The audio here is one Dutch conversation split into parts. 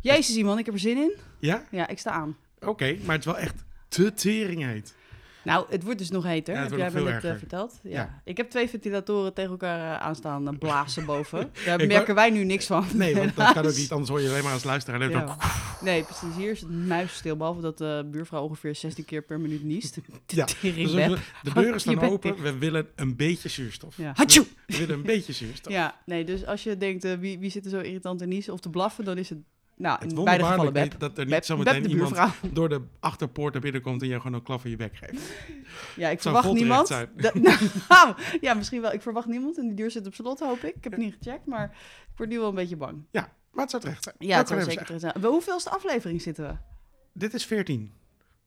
Jezus, iemand, ik heb er zin in. Ja? Ja, ik sta aan. Oké, maar het is wel echt te tering heet. Nou, het wordt dus nog heter. Ja, het heb wordt jij nog me net eh, veel erger. verteld? Ja. Ja. Ik heb twee ventilatoren tegen elkaar eh, aanstaan en blazen boven. Daar Ik merken wij nu niks van. Nee, want dat helaas. kan ook niet. Anders hoor je alleen maar als luisteraar. alleen Ja. maar- Nee, precies. Hier is het muisstil. Behalve dat de buurvrouw ongeveer 16 keer per minuut niest. Ja, Dus Teringbed. we- de deuren Je staan bent open. dicht. We willen een beetje zuurstof. Ja. We, Hatsjoe! we willen een beetje zuurstof. Ja, nee, dus als je denkt, eh, wie, wie zit er zo irritant te niezen of te blaffen, dan is het, nou, Het in beide gevallen wonderbaarlijk Beb. niet dat er Beb, niet Beb zometeen de iemand buurvrouw. door de achterpoort naar binnen komt en jou gewoon een klap in je bek geeft. Ja, ik zou verwacht God niemand. terecht Dat- nou, ja, misschien wel. Ik verwacht niemand en die deur zit op slot, hoop ik. Ik heb het niet gecheckt, maar ik word nu wel een beetje bang. Ja, maar het zou terecht zijn. Ja, het zal Dat kan hem zeker zeggen. terecht zijn. Bij hoeveelste aflevering zitten we? Dit is 14.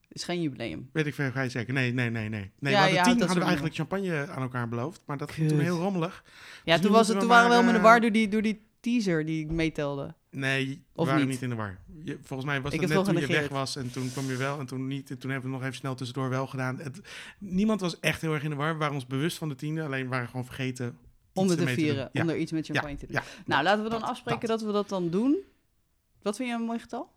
Het is geen jubileum. Weet ik ver- vrij zeker. Nee, nee, nee, nee. nee Ja, we je hadden houdt 10 dat hadden we soort eigenlijk champagne aan elkaar beloofd. Maar dat Kut. ging toen heel rommelig. Ja, Dus toen, nu was moeten het, we toen waren we maar, helemaal in de eh, war door die, door die teaser die ik meetelde. Nee, we Of waren niet? niet in de war. Je- volgens mij was Ik heb het het net wel toen je weg genegeerd. was en toen kwam je wel en toen niet. En toen hebben we nog even snel tussendoor wel gedaan. Het, niemand was echt heel erg in de war. We waren ons bewust van de tiende, alleen we waren gewoon vergeten iets Om het te ermee doen. vieren, Ja. om er iets met champagne te doen. ja, nou, laten we dan dat, afspreken dat. we dat dan doen. Wat vind je een mooi getal?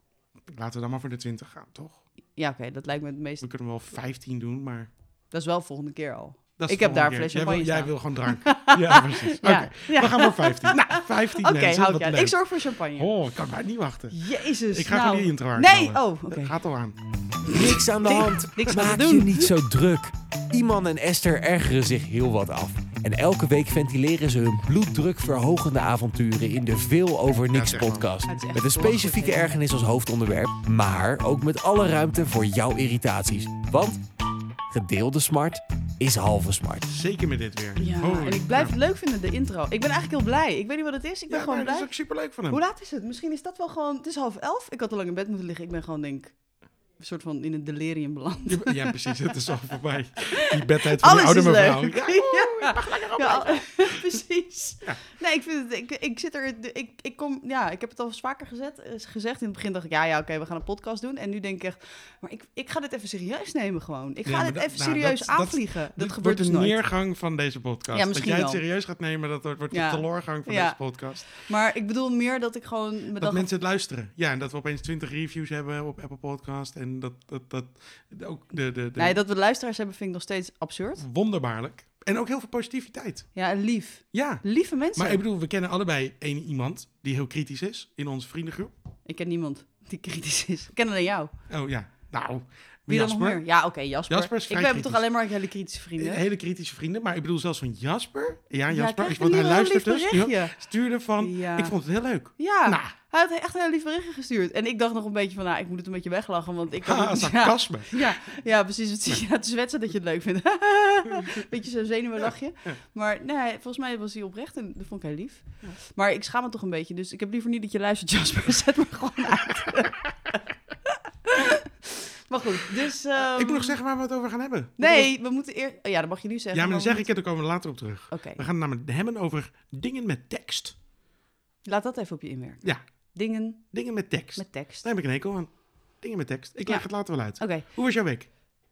Laten we dan maar voor de 20 gaan, toch? Ja, oké, dat lijkt me het meest. We kunnen wel 15 doen, maar. Dat is wel volgende keer al. Dat is Ik heb de volgende daar een keer. fles Jij wil- champagne Jij staan. wil gewoon drank. ja, precies. Oké, Ja, ja. we gaan voor 15. Nou, 15 Oké, mensen. hou ik wat uit. leuk. Ik zorg voor champagne. Oh, ik kan maar niet wachten. Jezus. Ik ga nou. gewoon die intro Eh, Nee, aanknallen. oh, oké. Dat gaat al aan. Niks aan de Niks- hand. niks aan te Maak doen. je niet zo druk. Iman en Esther ergeren zich heel wat af. En elke week ventileren ze hun bloeddrukverhogende avonturen in de Veel Over Niks zeg maar. podcast. Het is echt Met een specifieke belachelijk. ergernis als hoofdonderwerp, maar ook met alle ruimte voor jouw irritaties. Want gedeelde smart is halve smart. Zeker met dit weer. Ja, Holy en ik blijf crap. het leuk vinden, de intro. Ik ben eigenlijk heel blij. Ik weet niet wat het is. Ik ben Ja, gewoon maar dat blij. is ook superleuk van hem. Hoe laat is het? Misschien is dat wel gewoon... Het is half elf. Ik had al lang in bed moeten liggen. Ik ben gewoon, denk een soort van in een delirium beland. Je- Ja, precies. Het is al voorbij. Die bedtijd van die Alles oude is mevrouw. leuk. Ja, Ja. Ja, precies. Nee, ik vind het... Ik, ik zit er... Ik, ik kom... Ja, ik heb het al eens vaker gezet, eh, gezegd. In het begin dacht ik, ja, ja, oké, we gaan een podcast doen. En nu denk ik echt, maar ik, ik ga dit even serieus nemen gewoon. Ik Ja, ga maar dit dat- even nou, serieus dat- dat- aanvliegen. Dat, Dit gebeurt wordt dus de nooit. neergang van deze podcast. Ja, misschien dat jij het wel. serieus gaat nemen, dat wordt wordt Ja. de teleurgang van Ja. deze podcast. Maar ik bedoel meer dat ik gewoon... Me Dat, dacht, mensen het luisteren. Ja, en dat we opeens 20 reviews hebben op Apple Podcast. En dat, dat, dat ook de, de, de Nee, dat we luisteraars hebben vind ik nog steeds absurd. wonderbaarlijk. En ook heel veel positiviteit. Ja, en lief. Ja. Lieve mensen. Maar ik bedoel, we kennen allebei één iemand die heel kritisch is in onze vriendengroep. Ik ken niemand die kritisch is. Ik ken alleen jou. Oh ja, nou. Wie dan nog Jasper. meer? Ja, oké, Jasper. Jasper is ik vrij heb toch kritisch. alleen maar hele kritische vrienden. Hele kritische vrienden, maar ik bedoel zelfs van Jasper. Ja, Ja, Jasper, krijg want nu hij wel een luistert lief dus. berichtje. Ja, Stuurde van, Ja. ik vond het heel leuk. Ja, Nou. hij had echt een heel lief berichtje gestuurd. En ik dacht nog een beetje van, nou, ik moet het een beetje weglachen, want ik... Ha, ja, sarcasme. ja, ja, precies. Het is ja, het is wetsen dat je het leuk vindt. beetje zo'n zenuwenlachje. Maar nee, volgens mij was hij oprecht en dat vond ik heel lief. Maar ik schaam me toch een beetje, dus ik heb liever niet dat je luistert, Jasper. Zet me gewoon uit. maar goed, dus... ehm, ik moet nog zeggen waar we het over gaan hebben. Nee, we moeten eerst... Ja, dat mag je nu zeggen. Ja, maar dan we zeg ik moeten- het, dan komen we later op terug. Oké, We gaan het namelijk hebben over dingen met tekst. laat dat even op je inwerken. Ja, Dingen dingen met tekst. met tekst. Daar heb ik een hekel aan. Dingen met tekst. Ik leg Ja. Uh, het later wel uit. Oké, Hoe was jouw week?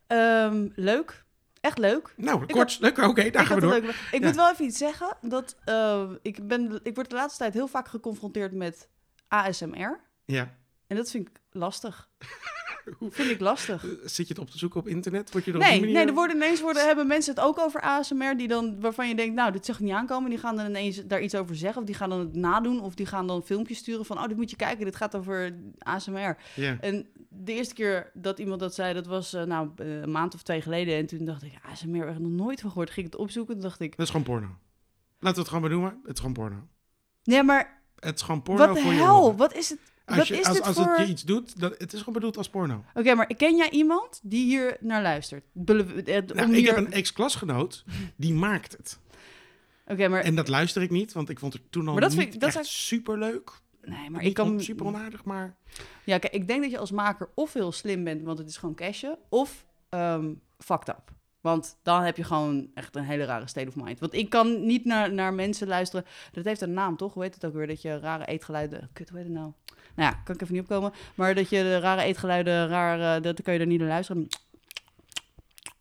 ehm, leuk. Echt leuk. Nou, Ik kort. Leuk, oké, daar ik gaan we had door. een leuke- Ik Ja. moet wel even iets zeggen. Dat, eh, ik, ben, ik word de laatste tijd heel vaak geconfronteerd met ASMR. Ja. En dat vind ik lastig. vind ik lastig. Zit je het op te zoeken op internet? Word je er op Nee, die manier... nee, er worden ineens worden, hebben mensen het ook over ASMR, die dan, waarvan je denkt, nou, dit zag ik niet aankomen. Die gaan dan ineens daar iets over zeggen, of die gaan dan het nadoen, of die gaan dan filmpjes sturen van, oh, dit moet je kijken, dit gaat over ASMR. Ja. En de eerste keer dat iemand dat zei, dat was eh, nou, eh, een maand of twee geleden. En toen dacht ik, ASMR, heb ik nog nooit van gehoord. Ging ik het opzoeken, toen dacht ik, Dat is gewoon porno. Laten we het gewoon maar doen, maar het is gewoon porno. nee, maar Het is gewoon porno wat de voor je hel? oren. Wat is het? Als, wat je, is als, dit als voor... het je iets doet, dat, het is gewoon bedoeld als porno. Oké, maar ken jij iemand die hier naar luistert? Bele- eh, Nou, om ik hier- heb een ex-klasgenoot, die maakt het. Oké, maar, En dat luister ik niet, want ik vond het toen al Maar dat niet vind ik- dat echt zou- superleuk. nee, maar Maar ik kan... super onaardig, maar... Ja, kijk, ik denk dat je als maker of heel slim bent, want het is gewoon cashen, of ehm fucked up. Want dan heb je gewoon echt een hele rare state of mind. Want ik kan niet naar, naar mensen luisteren. Dat heeft een naam, toch? Hoe heet het ook weer? Dat je rare eetgeluiden... Kut, hoe heet het nou? Nou ja, kan ik even niet opkomen. Maar dat je de rare eetgeluiden, raar, eh, dat kan je er niet naar luisteren.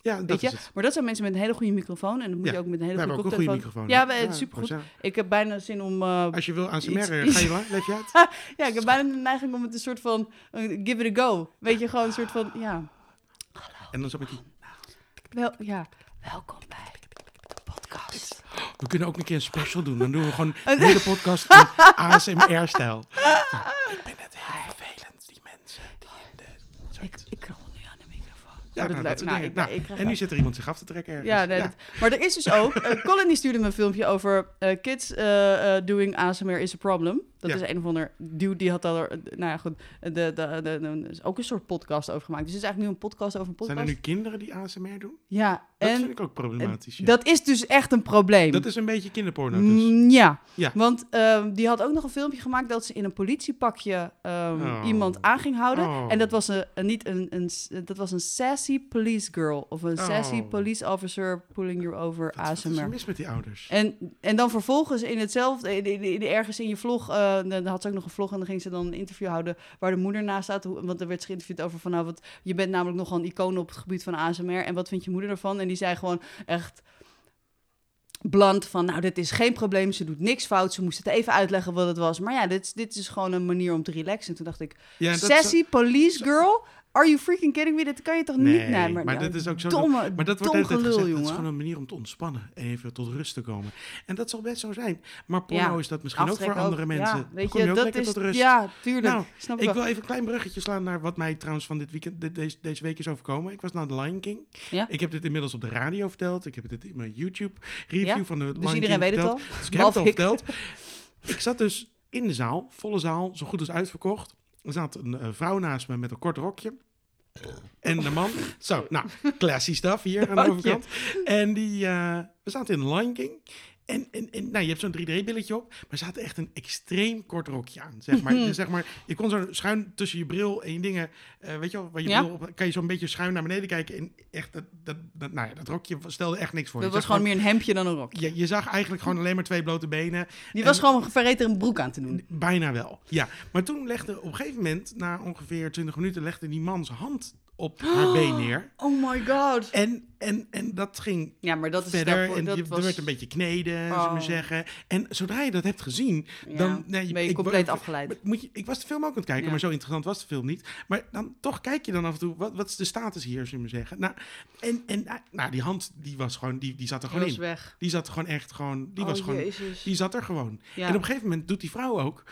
Ja, dat Weet je? is het. Maar dat zijn mensen met een hele goede microfoon. En dat moet Ja. je ook met een We hele hebben goede ook een goede koptelefoon. microfoon. Ja, we- het is supergoed. Rosanne, Ik heb bijna zin om... eh, Als je wil aan Iets- smeren, iets- ga je lang? Leef je uit? ja, ik heb bijna de neiging om het een soort van... eh, give it a go. Weet je, gewoon een soort van... Ja, En dan zo met die... wel, ja. welkom bij de podcast. We kunnen ook een keer een special doen. Dan doen we gewoon een hele podcast in ASMR-stijl. Ik ben net heel vervelend, die mensen. Die in de... Ik, ik krabbel nu aan de microfoon. Ja, Wordt het nou, leuk? dat soort Nou, dingen. ik- Nou, ik krijg en nu zit er iemand zich af te trekken ergens. Ja, nee, dat- maar er is dus ook. eh, Colin die stuurde me een filmpje over eh, kids eh, eh, doing ASMR is a problem. Dat Ja. is een of ander dude die had al, er- nou ja, goed, de, de, de, de- er is ook een soort podcast over gemaakt. Dus het is eigenlijk nu een podcast over een podcast. Zijn er nu kinderen die ASMR doen? Ja, Dat en vind ik ook problematisch. ja. dat is dus echt een probleem. dat is een beetje kinderporno dus. Mm, ja. Ja. want ehm, die had ook nog een filmpje gemaakt dat ze in een politiepakje ehm, Oh. iemand aan ging houden. Oh. En dat was een, een- niet een, een, dat was een sassy police girl of een sassy Oh. police officer pulling you over Wat- Wat is er ASMR. mis met die ouders? En, en dan vervolgens in hetzelfde, in, in- in- ergens in je vlog, eh, dan had ze ook nog een vlog en dan ging ze dan een interview houden waar de moeder naast staat. Hoe- Want er werd ze geïnterviewd over van, nou, wat, je bent namelijk nogal een icoon op het gebied van ASMR en wat vindt je moeder ervan? En die zei gewoon echt bland van, nou, dit is geen probleem, ze doet niks fout, ze moest het even uitleggen wat het was. Maar ja, dit, is- dit is gewoon een manier om te relaxen. En toen dacht ik, Ja, dat sassy police girl, are you freaking kidding me? Dit kan je toch Nee, niet? nou, maar dat is ook zo- Domme, Maar dat wordt dom altijd gezegd, gelul, dat is jongen. gewoon een manier om te ontspannen en even tot rust te komen. En dat zal best zo zijn. Maar porno Ja, is dat misschien ook voor Aftrekken andere mensen. Ja, Dan weet kom je, ook dat lekker is, tot rust. ja, tuurlijk. Nou, Snap Ik ik wel. wil even een klein bruggetje slaan naar wat mij trouwens van dit weekend, dit- deze, deze week is overkomen. Ik was naar The Lion King. Ja. Ik heb dit inmiddels op de radio verteld. Ik heb dit in mijn YouTube review Ja, van de Lion Dus iedereen King weet het verteld. al. Dus ik heb het Behalve al ik. verteld. Ik zat dus in de zaal, volle zaal, zo goed als uitverkocht. Er zat een eh, vrouw naast me met een kort rokje. En een man. Zo, nou, classy stuff hier aan de Dank je. overkant. En die, eh, we zaten in de Lion King. En, en, en nou, je hebt zo'n 3D-billetje op, maar ze had echt een extreem kort rokje aan. Zeg maar, Dus zeg maar je kon zo schuin tussen je bril en je dingen, eh, weet je wel, waar je Ja. bril op, kan je zo'n beetje schuin naar beneden kijken. En echt, dat, dat, dat, nou ja, dat rokje stelde echt niks voor. Dat Je was zag gewoon meer een hemdje dan een rok. gewoon- je, je zag eigenlijk gewoon alleen maar twee blote benen. Die En- was gewoon verreter een broek aan te doen. Bijna wel, ja. Maar toen legde op een gegeven moment, na ongeveer 20 minuten, legde die man zijn hand op haar been neer. Oh my god. En, en, en dat ging Ja, maar dat is verder. daarvoor- en dat je, was, er werd een beetje kneden, zullen we Oh. maar zeggen. En zodra je dat hebt gezien, ja, dan... nee, ben je ik- compleet ik, afgeleid. maar Moet je, ik was de film ook aan het kijken, Ja. maar zo interessant was de film niet. Maar dan toch kijk je dan af en toe, wat, wat is de status hier, zullen we zeggen. Nou, en, en nou, die hand, die, was gewoon, die, die zat er Die gewoon was in. weg. Die zat er gewoon echt gewoon... Die, was Oh, gewoon, Jezus. die zat er gewoon. Ja. En op een gegeven moment doet die vrouw ook...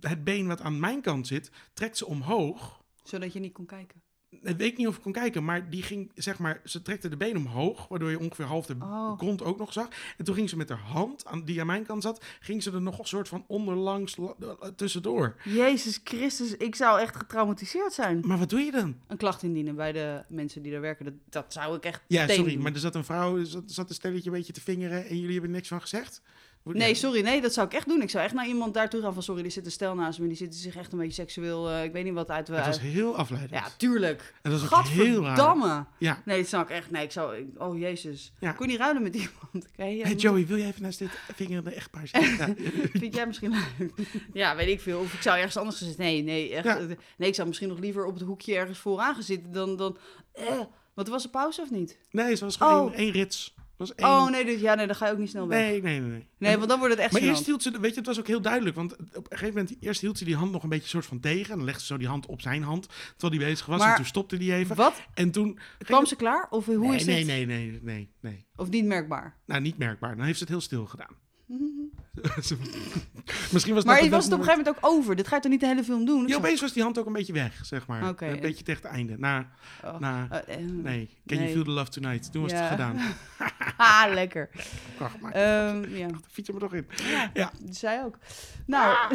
Het been wat aan mijn kant zit, trekt ze omhoog. Zodat je niet kon kijken. Ik weet niet of ik kon kijken, maar die ging, zeg maar, ze trekte de been omhoog, waardoor je ongeveer half de Oh. kont ook nog zag. En toen ging ze met haar hand, aan, die aan mijn kant zat, ging ze er nog een soort van onderlangs la- eh, tussendoor. Jezus Christus, ik zou echt getraumatiseerd zijn. Maar wat doe je dan? Een klacht indienen bij de mensen die daar werken, dat, dat zou ik echt Ja, meteen sorry, doen. maar er zat een vrouw, er zat, zat een stelletje een beetje te vingeren en jullie hebben er niks van gezegd? Hoe- Nee, ja. sorry, nee, dat zou ik echt doen. Ik zou echt naar iemand daartoe gaan van, sorry, er zit een stel naast me, die zitten zich echt een beetje seksueel, eh, ik weet niet wat uit. Het was uit- heel afleidend. ja, tuurlijk. en dat was ook heel raar. Gadverdamme. Ja. Nee, dat snap ik echt. Nee, ik zou... ik- oh, jezus. Ja. Ik kon niet ruilen met iemand. Oké, ja, Hey Joey, wil jij even naast dit vingerende echtpaar zitten? Ja. Vind jij misschien leuk? ja, weet ik veel. Of ik zou ergens anders gaan zitten. Nee, nee, echt. Ja. eh, Nee, ik zou misschien nog liever op het hoekje ergens vooraan gaan zitten dan... dan eh. Want er was een pauze of niet? Nee, ze was gewoon Oh. één, één rits. Het was één... Oh, nee, dus, ja, nee, dan ga je ook niet snel weg. Nee, nee, nee, nee. nee. want dan wordt het echt Maar gênant. eerst hield ze, weet je, het was ook heel duidelijk. Want op een gegeven moment, eerst hield ze die hand nog een beetje soort van tegen. En dan legde ze zo die hand op zijn hand, terwijl hij bezig was. Maar- en toen stopte die even. Wat? En toen... Kwam ze klaar? Of eh, hoe nee, is nee, het? nee, nee, nee, nee. Of niet merkbaar? Nou, niet merkbaar. Dan heeft ze het heel stil gedaan. Misschien was Maar dat je was het op een gegeven moment ook over. Dit ga je toch niet de hele film doen? Ik Ja, zou- opeens was die hand ook een beetje weg, zeg maar. Oké. Een beetje tegen het einde. Na, Oh, na, eh, eh, nee. Can you nee. feel the love tonight? Toen was Ja. het gedaan. Ah, lekker. Wacht maar. Ehm, ja, Fiets er maar toch in. zij ook. Nou, Ah.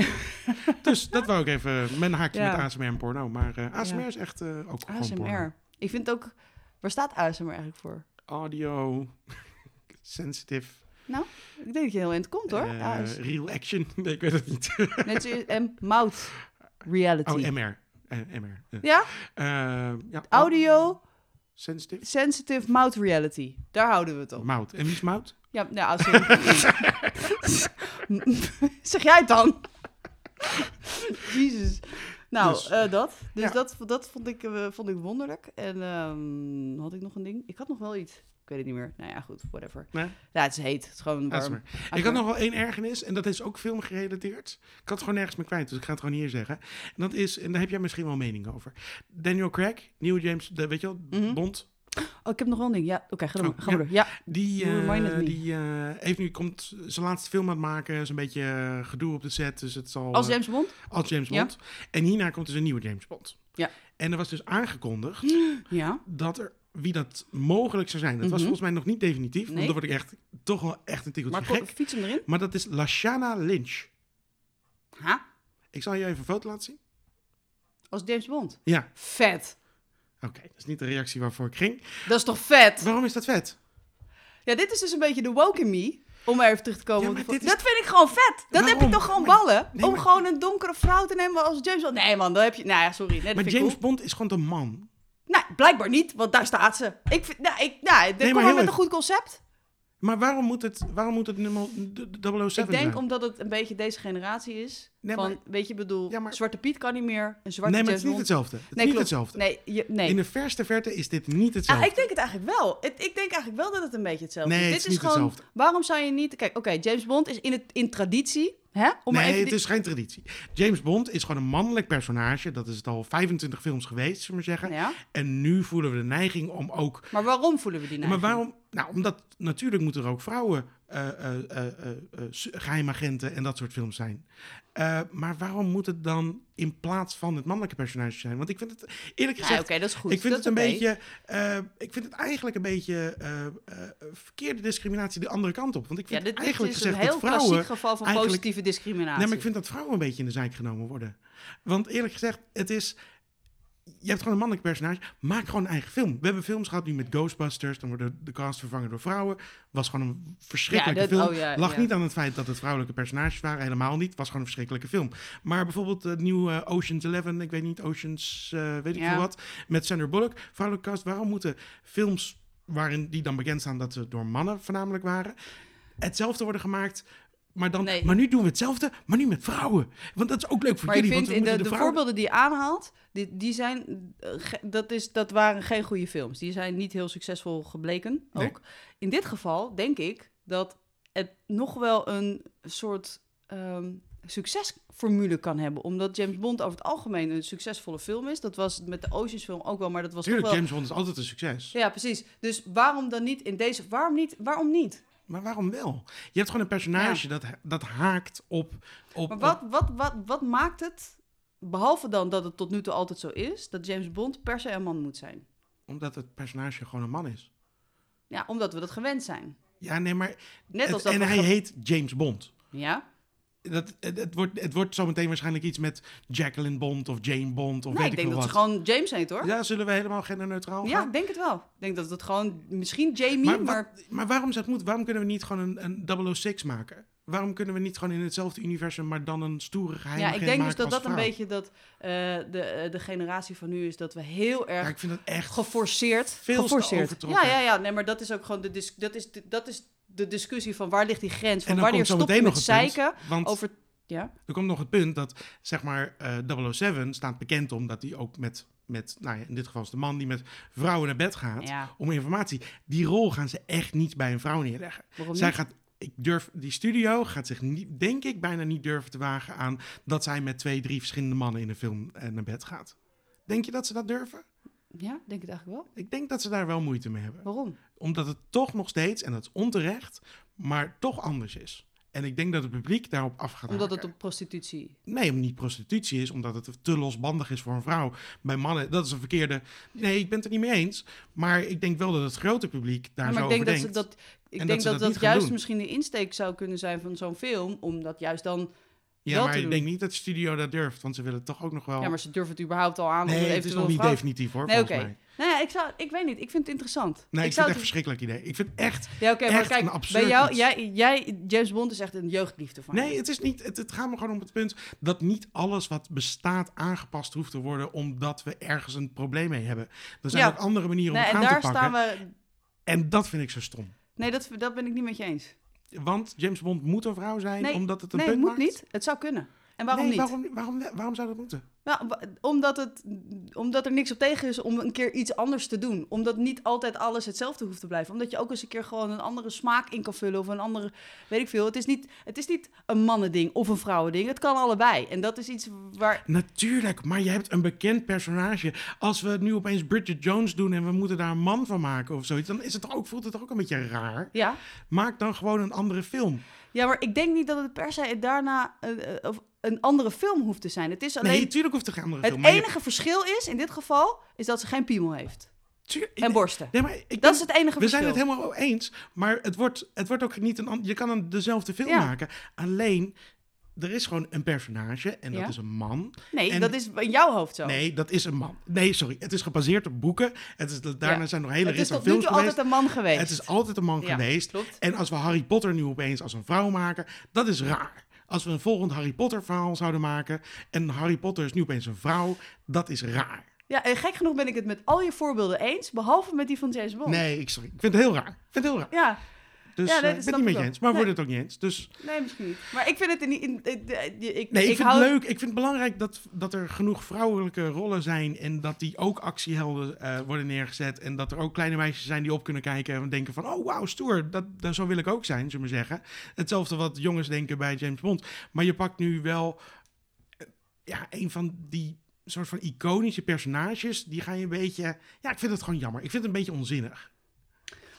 Dus dat wou ik even. Mijn haakje Ja. met ASMR en porno. Maar eh, ASMR Ja. is echt eh, ook gewoon porno. ASMR. Ik vind ook... Waar staat ASMR eigenlijk voor? audio, sensitive, Nou, Ik denk dat je heel eind komt hoor. eh, AS. real action. Nee, ik weet het niet. Net zoals en mouth reality. Oh, MR. Eh, MR. eh. ja? Eh, ja, Audio Sensitive. sensitive mouth reality. Daar houden we het op. Mout. En wie is mout? Ja, nou, als zeg jij het dan? Jezus. Nou, Dus- eh, dat. Dus Ja. dat, dat vond, ik, eh, vond ik wonderlijk. En ehm, had ik nog een ding? Ik had nog wel iets. Ik weet het niet meer. Nou ja, goed, whatever. Nee? Ja, het is heet. Het is gewoon Laat ze warm. maar. Ik had nog wel één ergernis, en dat is ook film gerelateerd. Ik had het gewoon nergens meer kwijt, dus ik ga het gewoon hier zeggen. En dat is, en daar heb jij misschien wel mening over. Daniel Craig, nieuwe James, de, weet je wel, Mhm. Bond. Oh, ik heb nog wel een ding. Ja, oké, ga dan Oh, maar. Ga maar door. Ja, Die, You eh, reminded me. die eh, heeft nu, komt zijn laatste film aan het maken. is een beetje eh, gedoe op de set, dus het zal... als eh, James Bond? als James Ja. Bond. En hierna komt dus een nieuwe James Bond. Ja. En er was dus aangekondigd Ja. dat er wie dat mogelijk zou zijn. Dat Mhm. was volgens mij nog niet definitief, Nee. want dan word ik echt toch wel echt een tikkeltje Maar ko- gek. fiets hem erin. Maar dat is Lashana Lynch. Ha? Ik zal je even een foto laten zien. Als James Bond. Ja, Vet. oké. Dat is niet de reactie waarvoor ik ging. Dat is toch vet? Waarom is dat vet? Ja, dit is dus een beetje de woke in me. Om maar even terug te komen. Ja, op maar de- dit is- Dat vind ik gewoon vet. Dat heb je Waarom? toch gewoon Maar- ballen? nee, om maar- gewoon een donkere vrouw te nemen als James Bond. Nee man, dan heb je... Nou ja, sorry. Nee, dat Maar vind ik James cool. Bond is gewoon een man. Nou, blijkbaar niet, want daar staat ze. Ik vind, nou, ik, nou, maar kom maar heel met een even. goed concept. Maar waarom moet het, waarom moet het nummer d- d- 007 Ik denk zijn? omdat het een beetje deze generatie is. Nee, van, maar- weet je, ik bedoel, Ja, maar- Zwarte Piet kan niet meer. Een zwarte Nee, maar het James is niet Bond. hetzelfde. Het is dus Nee, niet klopt. hetzelfde. Nee, je- nee. In de verste verte is dit niet Ah, hetzelfde. ik denk het eigenlijk wel. Het- ik denk eigenlijk wel dat het een beetje hetzelfde Nee, is. het Dit is niet gewoon. hetzelfde. Waarom zou je niet. Kijk, oké, James Bond is in, het, in traditie. Hè? Om oh, maar nee, even het die- is geen traditie. James Bond is gewoon een mannelijk personage. Dat is het al 25 films geweest, zullen we maar zeggen. Ja. En nu voelen we de neiging om ook... Maar waarom voelen we die Ja, nou? maar waarom? Nou, omdat natuurlijk moeten er ook vrouwen, eh eh, eh, eh, eh, s- geheimagenten en dat soort films zijn. Eh, maar waarom moet het dan in plaats van het mannelijke personage zijn? Want ik vind het, eerlijk Nee, Ah, oké, gezegd, dat is goed. ik vind dat het een is oké. beetje, eh, ik vind het eigenlijk een beetje eh, eh, verkeerde discriminatie de andere kant op. Want ik Ja, vind dit, dit eigenlijk is een gezegd heel dat vrouwen klassiek geval van eigenlijk- positieve discriminatie. Nee, maar ik vind dat vrouwen een beetje in de zijk genomen worden. Want eerlijk gezegd, het is... Je hebt gewoon een mannelijk personage. Maak gewoon een eigen film. We hebben films gehad nu met Ghostbusters. Dan wordt de, de cast vervangen door vrouwen. Was gewoon een verschrikkelijke Ja, dat- film. oh ja, Lag ja. niet aan het feit dat het vrouwelijke personages waren. Helemaal niet. Was gewoon een verschrikkelijke film. Maar bijvoorbeeld het nieuwe eh, Ocean's Eleven. Ik weet niet, Ocean's eh, weet ik Ja. veel wat. Met Sandra Bullock. Vrouwelijke cast. Waarom moeten films waarin die dan bekend staan dat ze door mannen voornamelijk waren... hetzelfde worden gemaakt... Maar, dan, Nee. maar nu doen we hetzelfde, maar nu met vrouwen. Want dat is ook leuk voor Maar ik jullie. vind want we in de, de, moeten vrouwen... voorbeelden die je aanhaalt, die, die zijn, eh, ge- dat, is, dat waren geen goede films. Die zijn niet heel succesvol gebleken ook. Nee. In dit geval denk ik dat het nog wel een soort ehm, succesformule kan hebben. Omdat James Bond over het algemeen een succesvolle film is. Dat was met de Oceans film ook wel, maar dat was toch Tuurlijk, wel... James Bond is altijd een succes. Ja, precies. Dus waarom dan niet in deze... Waarom niet? Waarom niet? Maar waarom wel? Je hebt gewoon een personage dat, dat haakt op... op Maar op- wat, wat, wat, wat maakt het, behalve dan dat het tot nu toe altijd zo is, dat James Bond per se een man moet zijn? omdat het personage gewoon een man is. Ja, omdat we dat gewend zijn. Ja, nee, maar... Net als het- dat en we hij ge- heet James Bond. Ja? Dat, het, het wordt, het wordt zometeen waarschijnlijk iets met Jacqueline Bond of Jane Bond nee, of weet Nou, ik ik denk veel dat ze wat. gewoon James heet, hoor. Ja, Ja, zullen we helemaal genderneutraal gaan? ik denk het wel. Ik denk dat het gewoon... Misschien Jamie, Maar, maar... wat- maar waarom is dat moet? Waarom kunnen we niet gewoon een, een 006 maken? Waarom kunnen we niet gewoon in hetzelfde universum, maar dan een stoere ja, ik geheimagent maken denk dus dat als dat een vrouw? beetje dat eh, de, eh, de generatie van nu is... dat we heel Ja, erg ik vind dat echt... geforceerd... veel te geforceerd. Ja, overtrokken. ja, ja. Nee, maar dat is ook gewoon de, dis- dat is de, dat is de discussie van waar ligt die grens? Van en dan wanneer komt zo stopt meteen het nog met het zeiken punt, want over... Ja? er komt nog het punt dat, zeg maar, eh 007 staat bekend omdat hij ook met, met, nou ja, in dit geval is de man die met vrouwen naar bed gaat Ja. om informatie. Die rol gaan ze echt niet bij een vrouw neerleggen. Waarom Zij niet? gaat, ik durf, die studio gaat zich niet, denk ik, bijna niet durven te wagen aan dat zij met twee, drie verschillende mannen in een film eh, naar bed gaat. Denk je dat ze dat durven? Ja, denk ik het eigenlijk wel. Ik denk dat ze daar wel moeite mee hebben. Waarom? Omdat het toch nog steeds, en dat is onterecht, maar toch anders is. En ik denk dat het publiek daarop af gaat Omdat het haken. op prostitutie... Nee, om niet prostitutie is, omdat het te losbandig is voor een vrouw. Bij mannen, dat is een verkeerde... Nee, ik ben het er niet mee eens. Maar ik denk wel dat het grote publiek daar Ja, maar zo ik denk over dat ze denkt. dat. Ik En dat denk ze dat dat, dat niet gaan juist doen. misschien de insteek zou kunnen zijn van zo'n film. Omdat juist dan. ja, wel maar te ik doen. denk niet dat de studio dat durft, want ze willen toch ook nog wel... Ja, maar ze durven het überhaupt al aan. om nee, het is eventueel nog een niet vrouw- definitief hoor, Nee, oké. volgens mij. Nou ja, ik, zou, ik weet niet. Ik vind het interessant. Nee, ik, vind het zou echt een verschrikkelijk idee. Ik vind echt... Ja, oké, maar echt een kijk, absurd bij jou, iets. jij, jij, James Bond is echt een jeugdliefde van Nee, je. het is niet. Het, het gaat me gewoon om het punt dat niet alles wat bestaat aangepast hoeft te worden omdat we ergens een probleem mee hebben. Er zijn Ja. ook andere manieren om Nee, het en aan te daar pakken. staan we. En dat vind ik zo stom. Nee, dat, dat ben ik niet met je eens. Want James Bond moet een vrouw zijn Nee, omdat het een Nee, punt moet maakt. niet. Het zou kunnen. En waarom nee, niet? Waarom, waarom, waarom zou dat moeten? Nou, wa- omdat, het, omdat er niks op tegen is om een keer iets anders te doen. Omdat niet altijd alles hetzelfde hoeft te blijven. Omdat je ook eens een keer gewoon een andere smaak in kan vullen. Of een andere, weet ik veel. Het is niet, het is niet een mannending of een vrouwending. Het kan allebei. En dat is iets waar... Natuurlijk, maar je hebt een bekend personage. Als we nu opeens Bridget Jones doen en we moeten daar een man van maken of zoiets, dan is het toch ook, voelt het toch ook een beetje raar. Ja, Maak dan gewoon een andere film. ja maar ik denk niet dat het per se daarna eh, eh, of een andere film hoeft te zijn. Het is alleen... nee, natuurlijk hoeft er geen andere het film. maar je- enige verschil is, in dit geval, is dat ze geen piemel heeft. tuur- ik- En borsten. Nee, maar ik Dat denk- is het enige We verschil. zijn het helemaal eens, maar het wordt, het wordt ook niet een an- Je kan een, dezelfde film Ja. maken. maken. Alleen, er is gewoon een personage en dat Ja. is een man. Nee, en- dat is in jouw hoofd zo. Nee, dat is een man. Nee, sorry. Het is gebaseerd op boeken. Het is, daarna Ja. zijn nog hele het is rits aan tot nu films toe geweest. altijd een man geweest. Het is altijd een man Ja, geweest. klopt. En als we Harry Potter nu opeens als een vrouw maken, dat is raar. Als we een volgend Harry Potter verhaal zouden maken en Harry Potter is nu opeens een vrouw, dat is raar. Ja, en gek genoeg ben ik het met al je voorbeelden eens, behalve met die van James Bond. Nee, ik, sorry. ik vind het heel raar. Ik vind het heel raar. Oh. Ja, Dus Ja, nee, eh, dat ik snap ben het niet ik met wel. je eens. Maar we Nee. worden het ook niet eens. Dus nee, misschien niet. Maar ik vind het in, in, in- in- ik, nee, ik, ik vind hou- het leuk. Ik vind het belangrijk dat, dat er genoeg vrouwelijke rollen zijn. En dat die ook actiehelden eh, worden neergezet. En dat er ook kleine meisjes zijn die op kunnen kijken. En denken van, oh wauw, stoer. Dat, dat, zo wil ik ook zijn, zullen we maar zeggen. Hetzelfde wat jongens denken bij James Bond. Maar je pakt nu wel eh, ja, een van die soort van iconische personages. Die ga je een beetje... Ja, ik vind het gewoon jammer. Ik vind het een beetje onzinnig.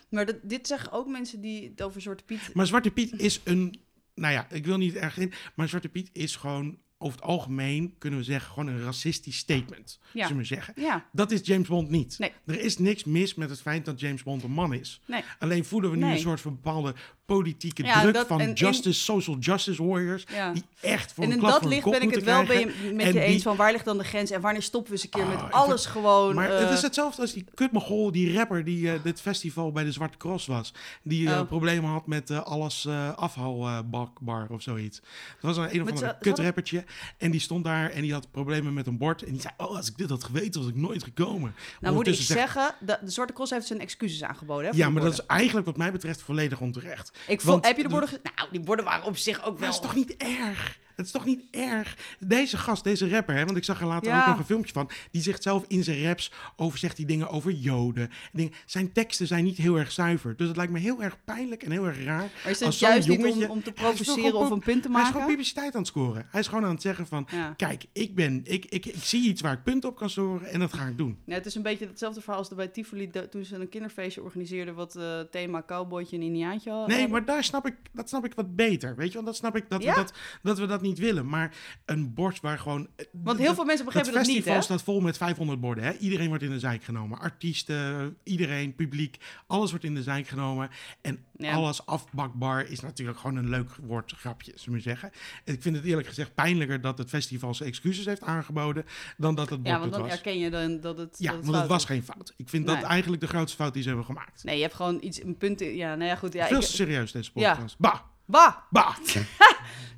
Maar dat, dit zeggen ook mensen die het over Zwarte Piet... Maar Zwarte Piet is een... Nou ja, ik wil niet erg in. Maar Zwarte Piet is gewoon... Over het algemeen kunnen we zeggen gewoon een racistisch statement. Ja. Zullen we zeggen. Ja, Dat is James Bond niet. Nee. Er is niks mis met het feit dat James Bond een man is. nee. Alleen voelen we nu Nee. een soort van bepaalde politieke Ja, druk dat- van en in- justice, social justice warriors. Ja. Die echt voor En een in klap dat voor hun licht kop ben ik het moeten wel krijgen. bij je- met En je die- eens van waar ligt dan de grens en wanneer stoppen we eens een keer Ah, ik met alles gewoon... Maar eh, het is hetzelfde als die kutmogol, die rapper die eh, dit festival bij de Zwarte Cross was. Die eh, Oh. problemen had met eh, alles eh afhaalbakbar of zoiets. Dat was een, een of Met ander z'n- kutrappertje. En die stond daar en die had problemen met een bord. En die zei, oh als ik dit had geweten was ik nooit gekomen. nou moet ik Ondertussen zegt- zeggen, de, de Zwarte Cross heeft zijn excuses aangeboden. Hè, voor Ja, de maar dat borden. is eigenlijk wat mij betreft volledig onterecht. Ik vond, want heb je de de- borden gezien? Nou, die borden waren op zich ook Maar wel... dat is toch niet erg? Het is toch niet erg? Deze gast, deze rapper, hè, want ik zag er later Ja. ook nog een filmpje van. Die zegt zelf in zijn raps over, zegt hij dingen over joden. En dingen. Zijn teksten zijn niet heel erg zuiver. Dus het lijkt me heel erg pijnlijk en heel erg raar. Maar is als het zo'n juist niet om, jongetje- om te Hij is toch provoceren gewoon of een punt te Hij is gewoon maken? publiciteit aan het scoren. Hij is gewoon aan het zeggen van... Ja. Kijk, ik, ben, ik, ik, ik zie iets waar ik punten op kan scoren en dat ga ik doen. Ja, het is een beetje hetzelfde verhaal als bij Tivoli de- toen ze een kinderfeestje organiseerden wat eh, thema cowboytje en indiaantje hadden. Nee, maar daar snap ik, dat snap ik wat beter. Weet je, want dat snap ik dat, Ja? we, dat, dat we dat niet willen. Maar een borst waar gewoon... Want heel veel mensen begrijpen dat, het niet, festival hè? staat vol met 500 borden. Hè? Iedereen wordt in de zijk genomen. Artiesten, iedereen, publiek. Alles wordt in de zijk genomen. En Ja. alles afbakbar is natuurlijk gewoon een leuk woord grapje, zullen we zeggen. En ik vind het eerlijk gezegd pijnlijker dat het festival zijn excuses heeft aangeboden... dan dat het bord Ja, het want dan was. herken je dan dat het. ja, dat het want het fout was is. geen fout. Ik vind Nee. dat eigenlijk de grootste fout die ze hebben gemaakt. Nee, je hebt gewoon iets, een punt. In, ja, nou ja, goed. Ja, Veel ik, te serieus deze Ja. podcast. Bah, bah! bah.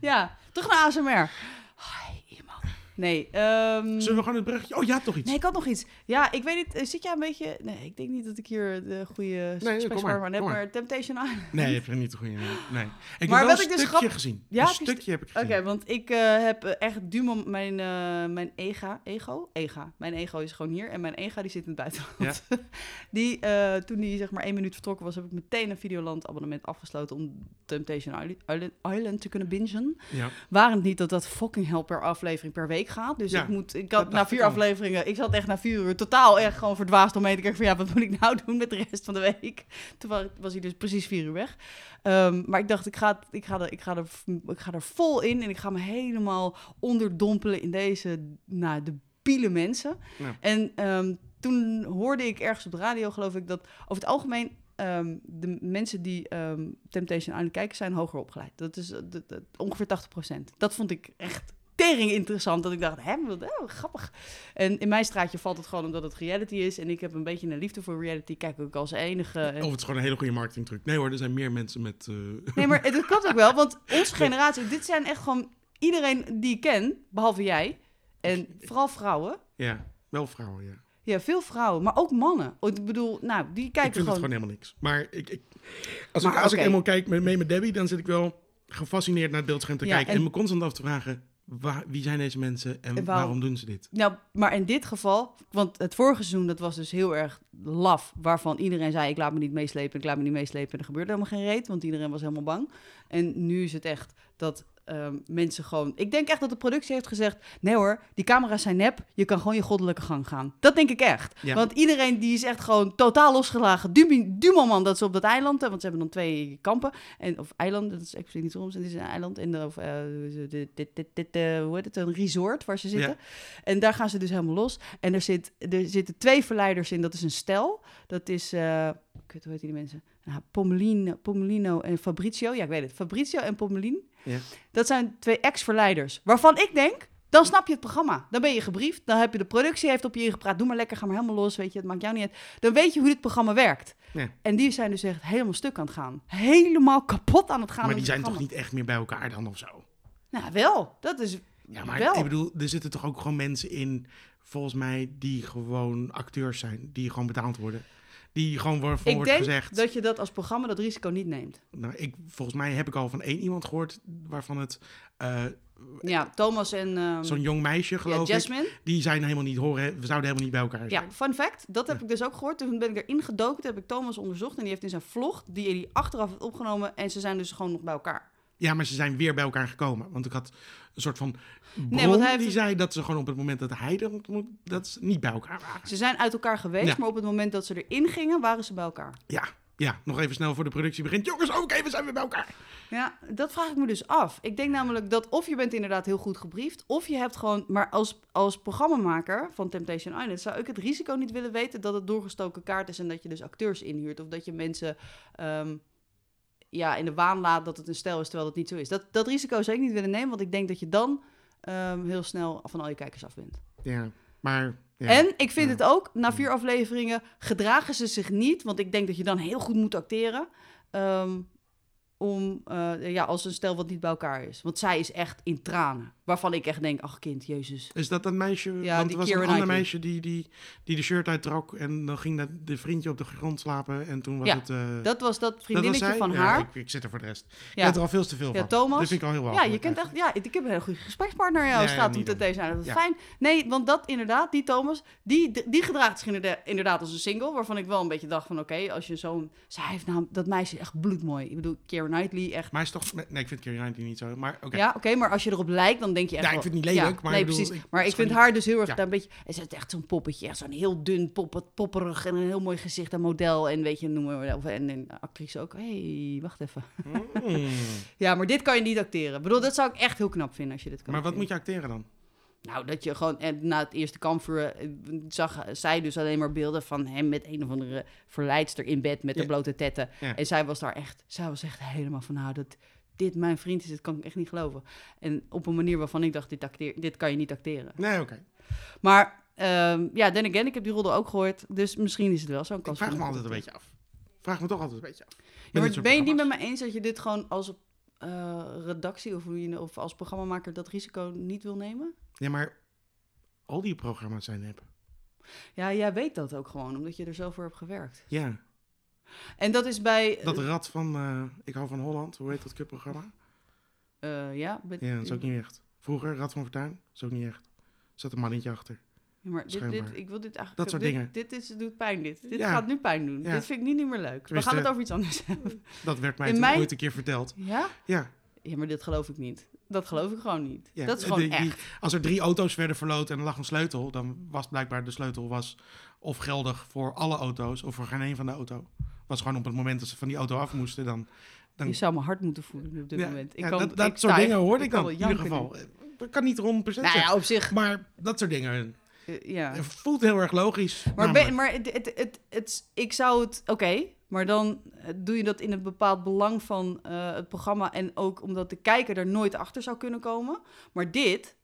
Ja, toch naar ASMR. Hoi, iemand. Nee, ehm, Zullen we gewoon het bruggetje... Oh, ja, toch iets. nee, ik had nog iets. Ja, ik weet niet. eh, Zit jij een beetje. Nee, ik denk niet dat ik hier de goede kom maar, spectrum aan heb, kom maar. maar Temptation Island. Nee, heb je niet de goede. Nee. Ik Maar heb wel wat een ik dus stukje grap- gezien. Ja, een heb je stu- stukje heb ik Oké, gezien. want ik eh, heb eh, echt duur mom- mijn, eh, mijn ega, ego, ega. Mijn ego is gewoon hier en mijn ega die zit in het buitenland. die, eh, toen die zeg maar één minuut vertrokken was, heb ik meteen een Videoland abonnement afgesloten om Temptation Island, Island, Island te kunnen bingen. Ja. Waar het niet dat dat fucking hell per aflevering per week gaat. Dus Ja, ik moet, ik dat had na dacht vier ik al. afleveringen, ik zat echt na vier uur totaal echt gewoon verdwaasd omheen te kijken van ja, wat moet ik nou doen met de rest van de week? Toen wa- was hij dus precies vier uur weg. Ehm, maar ik dacht, ik ga, het- ik, ga er, ik, ga er, ik ga er vol in en ik ga me helemaal onderdompelen in deze, nou, de biele mensen. Ja. En ehm, toen hoorde ik ergens op de radio, geloof ik, dat over het algemeen ehm, de mensen die ehm, Temptation Island kijken, zijn hoger opgeleid. Dat is eh, dat- dat- ongeveer 80%. Dat vond ik echt tering interessant. Dat ik dacht, hè, wat hè, grappig. En in mijn straatje valt het gewoon omdat het reality is. En ik heb een beetje een liefde voor reality. Kijk ook als enige. En- Of het is gewoon een hele goede marketingtruc. Nee hoor, er zijn meer mensen met... eh, Nee, maar het, het klopt ook wel. Want onze generatie, dit zijn echt gewoon iedereen die ik ken, behalve jij. En vooral vrouwen. ja, wel vrouwen, ja. Ja, veel vrouwen, maar ook mannen. Oh, Ik bedoel, nou, die kijken ik vind gewoon. het gewoon helemaal niks. Maar ik, ik, als, Maar ik, als oké. ik eenmaal kijk met, mee met Debbie, dan zit ik wel gefascineerd naar het beeldscherm te Ja, kijken. en- En me constant af te vragen, Waar, wie zijn deze mensen en, En waarom- waarom... doen ze dit? Nou, maar in dit geval, want het vorige seizoen, dat was dus heel erg laf. Waarvan iedereen zei, ik laat me niet meeslepen, ik laat me niet meeslepen. En er gebeurde helemaal geen reet, want iedereen was helemaal bang. En nu is het echt dat ehm, mensen gewoon... Ik denk echt dat de productie heeft gezegd, nee hoor, die camera's zijn nep. Je kan gewoon je goddelijke gang gaan. Dat denk ik echt. Ja. Want iedereen die is echt gewoon totaal losgelagen. Dumi- Dumelman dat ze op dat eiland, eh, want ze hebben dan twee kampen. En, of eilanden, dat is expliciet niet soms. Het is een eiland en er- of, eh, dit, dit, dit, dit, eh, hoe heet het, een resort waar ze zitten. En daar gaan ze dus helemaal los. En er, zit, er zitten twee verleiders in. Dat is een stel. Dat is, eh kut, hoe heet die mensen? Nou, Pommelino, Pommelino en Fabrizio. Ja, ik weet het. Fabrizio en Pommelin. Ja. Dat zijn twee ex-verleiders. Waarvan ik denk, dan snap je het programma. Dan ben je gebriefd. Dan heb je de productie heeft op je ingepraat. Doe maar lekker, ga maar helemaal los. Weet je, het maakt jou niet uit. Dan weet je hoe dit programma werkt. Ja. En die zijn dus echt helemaal stuk aan het gaan. Helemaal kapot aan het gaan. maar met die het zijn toch programma. niet echt meer bij elkaar dan of zo? Nou, wel. Dat is Ja, maar wel. ik bedoel, er zitten toch ook gewoon mensen in, volgens mij, die gewoon acteurs zijn. Die gewoon betaald worden. Die gewoon waarvoor ik wordt denk gezegd... dat je dat als programma dat risico niet neemt. Nou, ik, volgens mij heb ik al van één iemand gehoord waarvan het... eh, Ja, Thomas en ehm, Zo'n jong meisje, ja, geloof ik. Jasmine. Die zijn helemaal niet horen. We zouden helemaal niet bij elkaar zijn. Ja, fun fact. Dat heb ik dus ook gehoord. Toen ben ik erin gedoken. Toen heb ik Thomas onderzocht. En die heeft in zijn vlog, die hij achteraf heeft opgenomen. En ze zijn dus gewoon nog bij elkaar. Ja, maar ze zijn weer bij elkaar gekomen. Want ik had een soort van bron want hij heeft die het- zei dat ze gewoon op het moment dat hij er ontmoet, dat ze niet bij elkaar waren. Ze zijn uit elkaar geweest. Ja. Maar op het moment dat ze erin gingen, waren ze bij elkaar. Ja, ja, nog even snel voor de productie begint. Jongens, ook even zijn we bij elkaar. Ja, dat vraag ik me dus af. Ik denk namelijk dat of je bent inderdaad heel goed gebriefd, of je hebt gewoon... Maar als, als programmamaker van Temptation Island zou ik het risico niet willen weten dat het doorgestoken kaart is en dat je dus acteurs inhuurt. Of dat je mensen ehm, ja, in de waan laat dat het een stijl is, terwijl het niet zo is. Dat, dat risico zou ik niet willen nemen, want ik denk dat je dan ehm, heel snel van al je kijkers af bent. Ja, maar... Ja. En ik vind Ja. het ook, na vier afleveringen gedragen ze zich niet. Want ik denk dat je dan heel goed moet acteren. ehm, om, eh, ja, als een stel wat niet bij elkaar is. Want zij is echt in tranen. Waarvan ik echt denk, ach kind, jezus. Is dat dat meisje? Ja, want die er was Keira een ander Knightley. meisje die, die, die de shirt uittrok. En dan ging dat de vriendje op de grond slapen. En toen was Ja, het... eh, Dat was dat dat was vriendinnetje zij? van Ja, haar. Ik, ik zit er voor de rest. Ik Ja. weet er al veel te veel Ja, van. Thomas. Dit vind ik al heel Ja, walgelijk je kent echt, ja, ik ik heb een heel goede gesprekspartner jou Ja, ja, staat op niet de dan. deze aan. Dat is Ja. fijn. Nee, want dat inderdaad, die Thomas, die, die gedraagt zich inderda- inderdaad als een single. Waarvan ik wel een beetje dacht van, oké, als je zo'n... Zij heeft nou, dat meisje is echt bloedmooi. Ik bedoel, Keira Knightley, echt... Maar hij is toch... Nee, ik vind Keira Knightley niet zo. Maar oké. Ja, oké, maar als je erop lijkt, dan denk je echt... Ja, ik wel- vind het niet lelijk, maar nee, ik bedoel, precies. ik- maar het ik is vind gewoon haar dus heel erg Ja. daar een beetje... Het is echt zo'n poppetje, echt zo'n heel dun poppet, popperig en een heel mooi gezicht en model. En weet je, noemen we of en, en actrice ook. hey, wacht even. Mm. Ja, maar dit kan je niet acteren. Ik bedoel, dat zou ik echt heel knap vinden als je dit kan Maar wat moet acteren. je acteren dan? Nou, dat je gewoon... En na het eerste kampvuur eh, zag zij dus alleen maar beelden van hem met een of andere verleidster in bed met de Ja. blote tetten. Ja. En zij was daar echt, zij was echt helemaal van, nou, dat dit mijn vriend is, dat kan ik echt niet geloven. En op een manier waarvan ik dacht, dit, acteer, dit kan je niet acteren. Nee, oké. Maar ehm, ja, then again, ik heb die rodel ook gehoord, dus misschien is het wel zo'n Ik kans. vraag voor me mij. altijd een beetje af. Vraag me toch altijd een beetje af. Ja, maar Met dit soort ben je het niet met programma's. me eens dat je dit gewoon als eh, redactie of, hoe je, of als programmamaker dat risico niet wil nemen? Ja, maar al die programma's zijn nep. Ja, jij weet dat ook gewoon, omdat je er zo voor hebt gewerkt. Ja. En dat is bij... Dat rad van eh, Ik hou van Holland, hoe heet dat kutprogramma? eh, ja, bij- Ja, dat is ook niet echt. Vroeger, Rad van Fortuin, dat is ook niet echt. Er zat een mannetje achter. Ja, maar dit, dit, Schijnbaar. ik wil dit eigenlijk. Dat soort dit, dingen. Dit is, doet pijn, dit. Dit Ja. gaat nu pijn doen. Ja. Dit vind ik niet, niet meer leuk. We Tenminste- gaan het over iets anders hebben. Dat werd mij In toen mijn- ooit een keer verteld. Ja? Ja. Ja, maar dit geloof ik niet. Dat geloof ik gewoon niet. ja. eh, Dat is gewoon Die- die- echt. Als er drie auto's werden verloten en er lag een sleutel, dan was blijkbaar de sleutel was of geldig voor alle auto's of voor geen een van de auto. Was gewoon op het moment dat ze van die auto af moesten, dan... dan Je zou me hard moeten voelen op dit Ja, moment. Ik ja, kan, dat dat ik soort sta dingen echt- hoorde ik kan dan, wel in ieder janken geval. Ik kan niet 100% nu. zeggen. Nou ja, op zich. Maar dat soort dingen eh, ja. eh, voelt heel erg logisch. Maar, namelijk. ben, maar het, het, het, het- ik zou het. Oké, maar dan eh, doe je dat in het bepaald belang van eh, het programma. En ook omdat de kijker er nooit achter zou kunnen komen. Maar dit,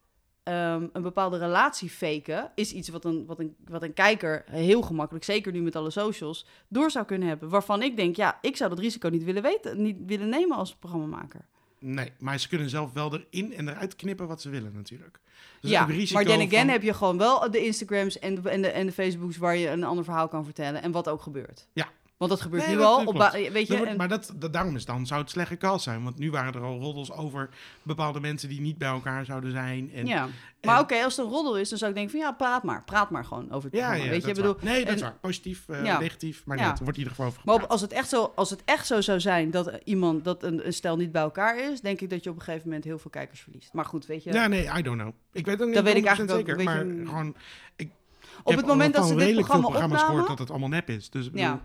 ehm, een bepaalde relatie faken, is iets wat een, wat, een, wat een kijker heel gemakkelijk, zeker nu met alle socials, door zou kunnen hebben. Waarvan ik denk, ja, ik zou dat risico niet willen, weten, niet willen nemen als programmamaker. Nee, maar ze kunnen zelf wel erin en eruit knippen wat ze willen natuurlijk. Dus ja, ook risico maar then again van- heb je gewoon wel de Instagrams en de, en, de, en de Facebooks waar je een ander verhaal kan vertellen en wat ook gebeurt. Ja, Want dat gebeurt Nee, nu dat, al. eh, Op ba- klopt. weet je, Dat wordt- en- maar dat, dat, daarom is dan zou het slecht gecast zijn. Want nu waren er al roddels over bepaalde mensen die niet bij elkaar zouden zijn. En, ja. Maar oké, als het een roddel is, dan zou ik denken van ja, praat maar. Praat maar gewoon over het ja, programma. ja, weet dat je, ik is bedoel, waar. Nee, dat is en- waar. Positief, eh, Ja. negatief, maar Ja. niet. Er wordt in ieder geval over Maar op- gepraat. als, het echt zo, als het echt zo zou zijn dat eh, iemand, dat een, een stel niet bij elkaar is, denk ik dat je op een gegeven moment heel veel kijkers verliest. Maar goed, weet je, ja. nee, I don't know. Ik weet het ook niet Dat weet ik 100% eigenlijk zeker. ook een maar beetje- gewoon, op het moment dat ze dit redelijk programma veel programma's opnamen, gehoord dat het allemaal nep is. Dus ik bedoel, Ja.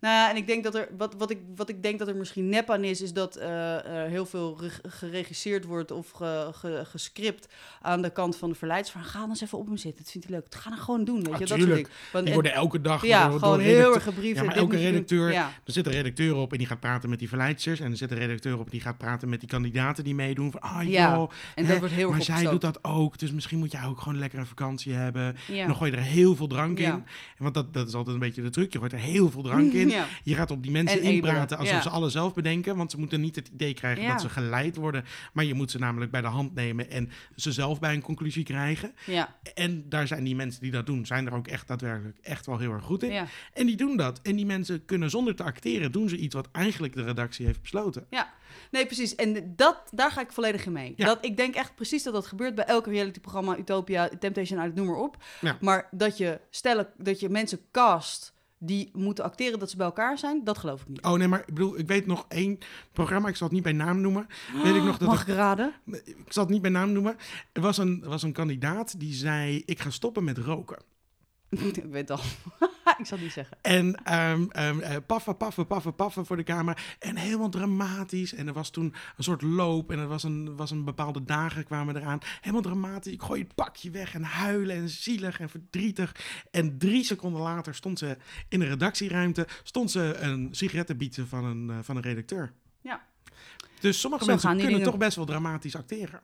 Nou ja, en ik denk dat er, wat, wat, ik, wat ik denk dat er misschien nep aan is, is dat eh, eh, heel veel reg- geregisseerd wordt of ge- ge- gescript aan de kant van de verleidsvraag. Ga dan eens even op hem zitten, dat vindt hij leuk. Ga dan gewoon doen, weet je, Ah, dat soort tuurlijk. dingen. Want, die en- worden elke dag ja, door, gewoon door heel redacte- erg gebriefd. Ja, maar dit elke moet je doen. redacteur- Ja. Er zit een redacteur op en die gaat praten met die verleidsters. En er zit een redacteur op die gaat praten met die kandidaten die meedoen. Van, ah Ja, joh, En hè, dat wordt heel erg maar zij doet opgestookt. dat ook. Dus misschien moet jij ook gewoon lekker een vakantie hebben. Ja. En dan gooi je er heel veel drank Ja. in. Want dat, dat is altijd een beetje de truc. Je gooit er heel veel drank in. Ja. Je gaat op die mensen En inpraten Ebro, alsof ja. ze alles zelf bedenken. Want ze moeten niet het idee krijgen Ja. dat ze geleid worden. Maar je moet ze namelijk bij de hand nemen en ze zelf bij een conclusie krijgen. Ja, En daar zijn die mensen die dat doen, zijn er ook echt daadwerkelijk echt wel heel erg goed in. ja. En die doen dat. En die mensen kunnen zonder te acteren, doen ze iets wat eigenlijk de redactie heeft besloten. Nee, precies. En dat, daar ga ik volledig in mee. Ja. Dat, ik denk echt precies dat dat gebeurt bij elk realityprogramma, Utopia, Temptation Island, noem maar op. Ja. Maar dat je, stellen, dat je mensen cast die moeten acteren dat ze bij elkaar zijn, dat geloof ik niet. Oh nee, maar ik bedoel, ik weet nog één programma, ik zal het niet bij naam noemen. Weet ik nog dat Mag er- ik raden? ik zal het niet bij naam noemen. Er was een, was een kandidaat die zei: Ik ga stoppen met roken. ik weet het al. ik zal het niet zeggen. En ehm, ehm, eh, paffen, paffen, paffen, paffen voor de camera. En helemaal dramatisch. En er was toen een soort loop. En er was een, was een bepaalde dagen kwamen eraan. Helemaal dramatisch. Ik gooi het pakje weg en huilen en zielig en verdrietig. En drie seconden later stond ze in de redactieruimte. Stond ze een sigaret te bieden van een, eh, van een redacteur. Ja. Dus sommige Zo mensen gaan die kunnen dingen. toch best wel dramatisch acteren.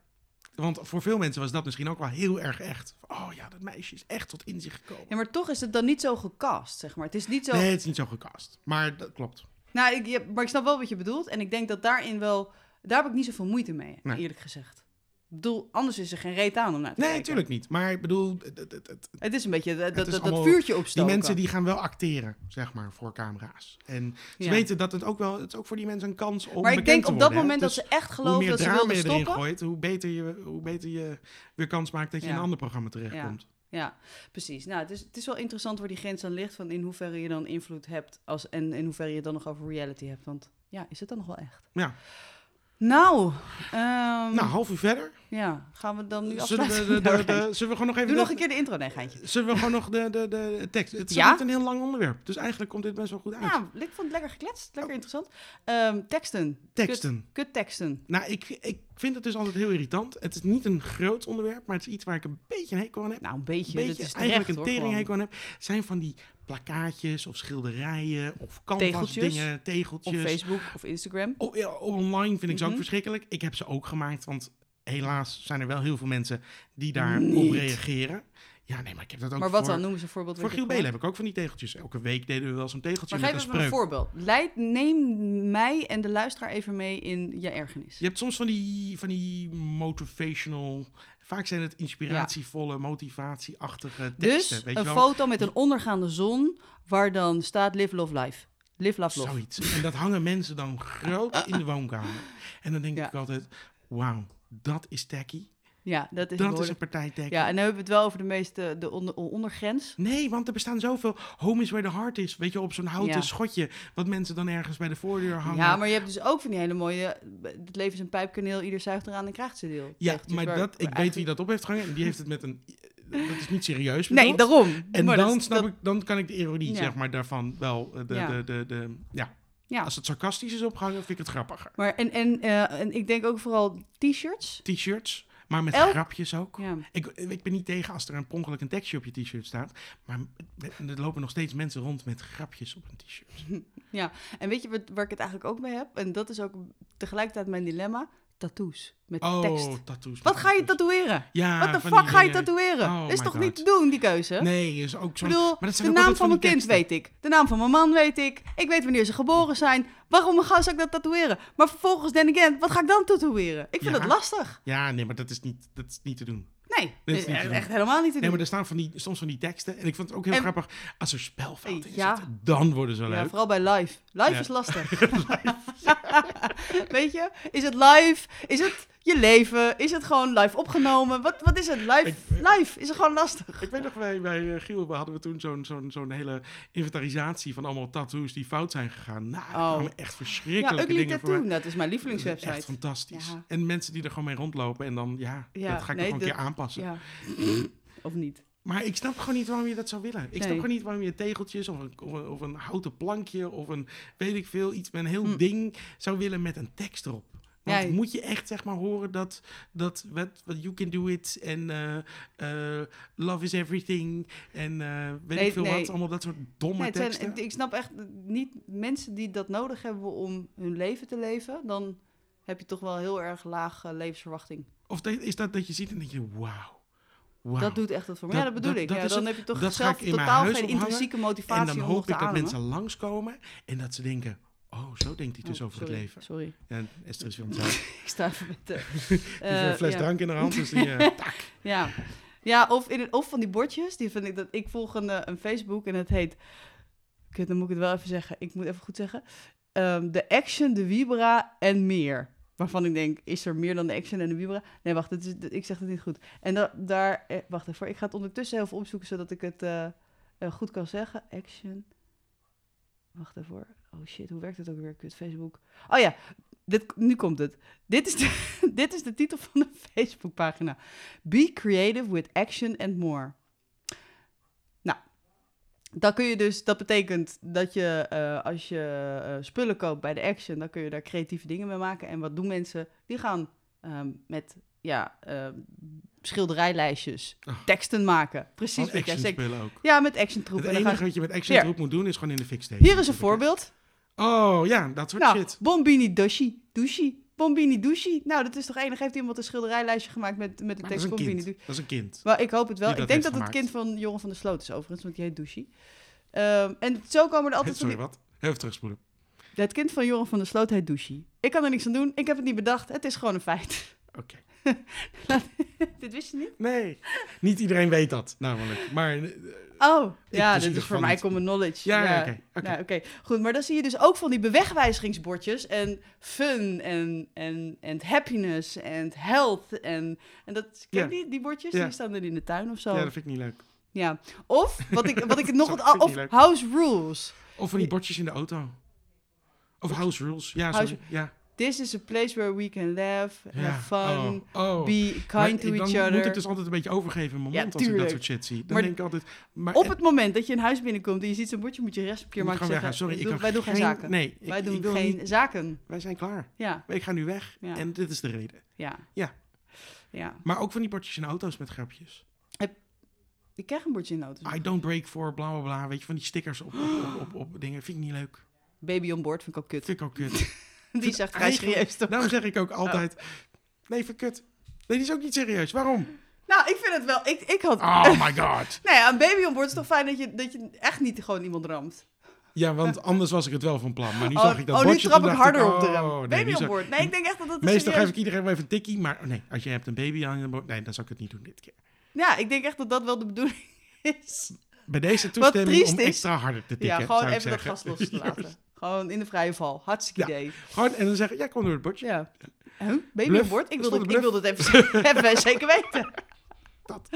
Want voor veel mensen was dat misschien ook wel heel erg echt. Oh ja, dat meisje is echt tot inzicht gekomen. Ja, maar toch is het dan niet zo gecast, zeg maar. Het is niet zo... Nee, het is niet zo gecast. Maar dat klopt. Nou, ik, je- maar ik snap wel wat je bedoelt. En ik denk dat daarin wel... Daar heb ik niet zoveel moeite mee, Nee. eerlijk gezegd. Ik bedoel, anders is er geen reet aan om naar te Nee, kijken. natuurlijk niet. Maar ik bedoel, het- het- het- het- Het is een beetje dat, dat, is dat, allemaal- vuurtje die opstoken. mensen die gaan wel acteren, zeg maar, voor camera's. En ze Ja. weten dat het ook wel, het is ook voor die mensen een kans om Maar ik bekend denk te op dat worden, hè. moment dat Dus ze echt hoe geloven meer dat ze drama wilden je erin stoppen. gooit, hoe beter je, hoe beter je weer kans maakt dat je in Ja. een ander programma terechtkomt. Ja, precies. Nou, het is, het is wel interessant waar die grens aan ligt. Van in hoeverre je dan invloed hebt als, en in hoeverre je het dan nog over reality hebt. Want ja, is het dan nog wel echt? Ja. Nou, ehm, Nou, half uur verder. ja, gaan we dan nu Zullen we, afsluiten? de, de- de- de- Doe zullen we gewoon nog even... nog de- een keer de intro, nee, geintje. Zullen we gewoon nog de, de, de, de tekst... Het is Ja? Nou, niet een heel lang onderwerp, dus eigenlijk komt dit best wel goed uit. Ja, ik vond het lekker gekletst, lekker interessant. Ehm, teksten. Oh. Teksten. Kut, kut teksten. Nou, ik, ik vind het dus altijd heel irritant. Het is niet een groot onderwerp, maar het is iets waar ik een beetje een hekel aan heb. Nou, een beetje. beetje, dat is terecht, eigenlijk hoor, een teringhekel gewoon. aan heb, zijn van die plakkaatjes of schilderijen of canvas Tegeltjes. dingen, Op tegeltjes. Facebook of Instagram. O- ja, online vind ik ze ook Mhm. verschrikkelijk. Ik heb ze ook gemaakt, want helaas zijn er wel heel veel mensen die daar op Niet. reageren. Ja, nee, maar ik heb dat ook Maar wat voor, dan? Noem eens een voorbeeld. Voor wat je Giel hebt Belen heb ik ook van die tegeltjes. Elke week deden we wel zo'n tegeltje Maar met geef een eens een spreuk. voorbeeld. Leid, neem mij en de luisteraar even mee in je ergernis. Je hebt soms van die, van die motivational... Vaak zijn het inspiratievolle, motivatieachtige dus teksten. weet een je wel? foto met een ondergaande zon waar dan staat live, love, life. Live, love, love. Zoiets. En dat hangen mensen dan groot in de woonkamer. En dan denk Ja. ik altijd, wauw, dat is tacky. Ja, dat is Dat is een behoorlijk. partij tacky. Ja, en dan hebben we het wel over de meeste, de onder, ondergrens. Nee, want er bestaan zoveel home is where the heart is. Weet je, op zo'n houten Ja. schotje, wat mensen dan ergens bij de voordeur hangen. Ja, maar je hebt dus ook van die hele mooie, het leven is een pijpkaneel, ieder zuigt eraan en krijgt zijn deel. Ja, Echt, dus maar waar- dat, ik waar weet wie eigenlijk- dat op heeft gehangen. En die heeft het met een... Dat is niet serieus Nee, bedoeld. daarom. En Maar dan, dat- snap dat- ik, dan kan ik de ironie, Ja. zeg maar, daarvan wel... eh, De, Ja. De, de, de, ja. Ja. Als het sarcastisch is opgehangen, vind ik het grappiger. Maar en, en, eh, en ik denk ook vooral t-shirts. T-shirts, maar met Elk- grapjes ook. Ja. Ik, eh, ik ben niet tegen als er een per ongeluk een tekstje op je t-shirt staat. Maar er lopen nog steeds mensen rond met grapjes op hun t-shirt. En weet je wat, waar ik het eigenlijk ook mee heb? En dat is ook tegelijkertijd mijn dilemma. Tattoos met Oh, tekst. tattoos. Wat ga je tatoeëren? Ja, Wat de van fuck die ga je dingen. tatoeëren? Oh is my toch God. niet te doen, die keuze? Nee, is ook Ik zo'n... bedoel, dat zijn de ook altijd naam van die mijn kind teksten. weet ik. De naam van mijn man weet ik. Ik weet wanneer ze geboren zijn. Waarom ga zou ik dat tatoeëren? Maar vervolgens, then again, wat ga ik dan tatoeëren? Ik vind Ja. dat lastig. Ja, nee, maar dat is niet, dat is niet te doen. Nee, Dit dit is is niet te echt, doen. echt helemaal niet te Nee, doen. maar er staan van die, soms van die teksten. En ik vond het ook heel En- grappig als er spelfouten in Ja. zitten. Dan worden ze ja, leuk. vooral bij live. Live Ja. is lastig. Weet je, is het live? Is het je leven? Is het gewoon live opgenomen? Wat, wat is het? Live, Ik- live is het gewoon lastig. Ik weet nog, wij, bij eh, Giel we hadden we toen zo'n zo'n zo'n hele inventarisatie van allemaal tattoos die fout zijn gegaan. Nou, er Oh. kwamen echt verschrikkelijke Ja, Ugly dingen voor. Tattoo, dat is mijn Echt lievelingswebsite. fantastisch. Ja. En mensen die er gewoon mee rondlopen en dan, ja, Ja, dat ga ik nee, nog een dat- keer aanpassen. Ja. Of niet? Maar ik snap gewoon niet waarom je dat zou willen. Ik snap Nee. gewoon niet waarom je tegeltjes of een, of, een, of een houten plankje of een, weet ik veel, iets met een heel Hm. ding zou willen met een tekst erop. Want Nee. moet je echt zeg maar horen dat, dat wat, wat you can do it en eh, eh, love is everything en eh, weet Nee, ik veel nee. wat, allemaal dat soort domme Nee, het zijn- teksten. ik snap echt niet mensen die dat nodig hebben om hun leven te leven. Dan heb je toch wel heel erg laag eh, levensverwachting. Of dat- is dat dat je ziet en denk je, wauw, wauw. Dat doet echt wat voor me. Dat- ja, dat bedoel dat- ik. dat ja, is dan het. heb je toch Dat ga zelf ik in mijn totaal huis geen ophangen. intrinsieke en motivatie dan om nog hoop te ik dat ademen. mensen langskomen en dat ze denken, oh, zo denkt hij dus Oh, over sorry, het leven. Sorry, En Esther is weer aan het zuipen. ik sta even met de... Dus eh, een fles ja. drank in de hand. Dus die, eh, tak. Ja, ja of, in het, of van die bordjes. Die vind ik dat ik volg een, eh, een Facebook en het heet. Kut, dan moet ik het wel even zeggen. Ik moet even goed zeggen. Ehm, de Action, de Vibra en meer. Waarvan ik denk, is er meer dan de Action en de Vibra? Nee, wacht, het is, dat- ik zeg het niet goed. En da- daar, eh, wacht even. Ik ga het ondertussen even opzoeken zodat ik het eh, eh, goed kan zeggen. Action. Wacht even. hoor. Oh shit, hoe werkt het ook weer? Kut, Facebook. Oh ja, dit, nu komt het. Dit is, de, dit is de titel van de Facebookpagina. Be creative with action and more. Nou, dan kun je dus, dat betekent dat je eh, als je eh, spullen koopt bij de action, dan kun je daar creatieve dingen mee maken. En wat doen mensen? Die gaan ehm, met ja, ehm, schilderijlijstjes, Oh. teksten maken. Precies Van wat jij action zegt. spullen ook. Ja, met action troepen. Het En dan gaan enige ze- wat je met action Hier. troep moet doen is gewoon in de fik steken. Hier is een voorbeeld. Oh ja, dat soort Nou, shit. Bombini Doshi. Doshi. Bombini Doshi. Nou, dat is toch enig. Heeft iemand een schilderijlijstje gemaakt met, met de Maar dat is tekst een Bombini kind. Doshi? Dat is een kind. Maar ik hoop het wel. Die ik dat denk dat heeft het kind van Joran van der Sloot is overigens, want die heet Doshi. Ehm, en zo komen er altijd van die... Sorry, wat? Even terugspoelen. Het kind van Joran van der Sloot heet Doshi. Ik kan er niks aan doen. Ik heb het niet bedacht. Het is gewoon een feit. Oké. Dit wist je niet? Nee, niet iedereen weet dat namelijk. Maar eh, Oh, Ik ja, dit dus in ieder is geval voor mij niet. common knowledge. ja, ja, oké. oké. Nou, oké. Goed, maar dan zie je dus ook van die bewegwijzigingsbordjes en fun en, en, en happiness en health en, en dat, ken je Ja. die, die bordjes? Ja. Die staan dan in de tuin of zo. Ja, Ja. dat vind ik niet leuk. Of, wat ik, wat ik nog, Sorry, het vind al- ik niet of leuk. house rules. Of van die bordjes in de auto. Of house rules. Ja, House- sorry. Ja. This is a place where we can laugh, ja. have fun, Oh, oh. be kind Maar to ik- each dan other. moet ik dus altijd een beetje overgeven in mijn Ja, mond als ik dat tuurlijk. soort shit zie. Dan Maar- denk ik altijd... Maar, Op het moment dat je een huis binnenkomt en je ziet zo'n bordje, moet je rechts op keer Ik moet maken gewoon zeggen, weggaan. Sorry, ik doe- kan wij doen geen, zaken. Nee, ik- wij doen ik wil geen niet- zaken. Wij zijn klaar. Ja, Ik ga nu weg Ja. en dit is de reden. ja. Ja. Ja. Maar ook van die bordjes in auto's met grapjes. Ik krijg een bordje in de auto. I don't break for bla bla bla. Weet je, van die stickers op, op, op, op, op dingen. Vind ik niet leuk. Baby on board vind ik ook kut. Vind ik ook kut. Die zegt vrij Eigenlijk- serieus toch? Oh. Daarom zeg ik ook altijd... Nee, vind ik kut. Nee, die is ook niet serieus. Waarom? Nou, ik vind het wel. Ik, ik had. Oh my god. Nee, een baby on board is toch fijn dat je, dat je echt niet gewoon iemand ramt. Ja, want anders was ik het wel van plan. Maar nu oh, zag ik dat oh, nu bordje, trap toen ik dacht harder op de rem. oh, nee, baby nu on zag- board. Nee, ik denk echt dat dat is. Meestal geef serieus- ik iedereen wel even een tikkie, maar Oh, nee, als je hebt een baby aan je bord, nee, dan zou ik het niet doen dit keer. Ja, ik denk echt dat dat wel de bedoeling is. Bij deze toestemming triest om is- extra harder te tikken, ja, gewoon zou ik even dat zeggen. gas los te laten. Gewoon in de vrije val. Hartstikke Ja. idee. Gewoon, en dan zeggen, ja, kom door het bordje. Ja. Huh? Baby Bluff. on board? Ik wil, Stond dat, een ik wil dat even, even zeker weten. Dat.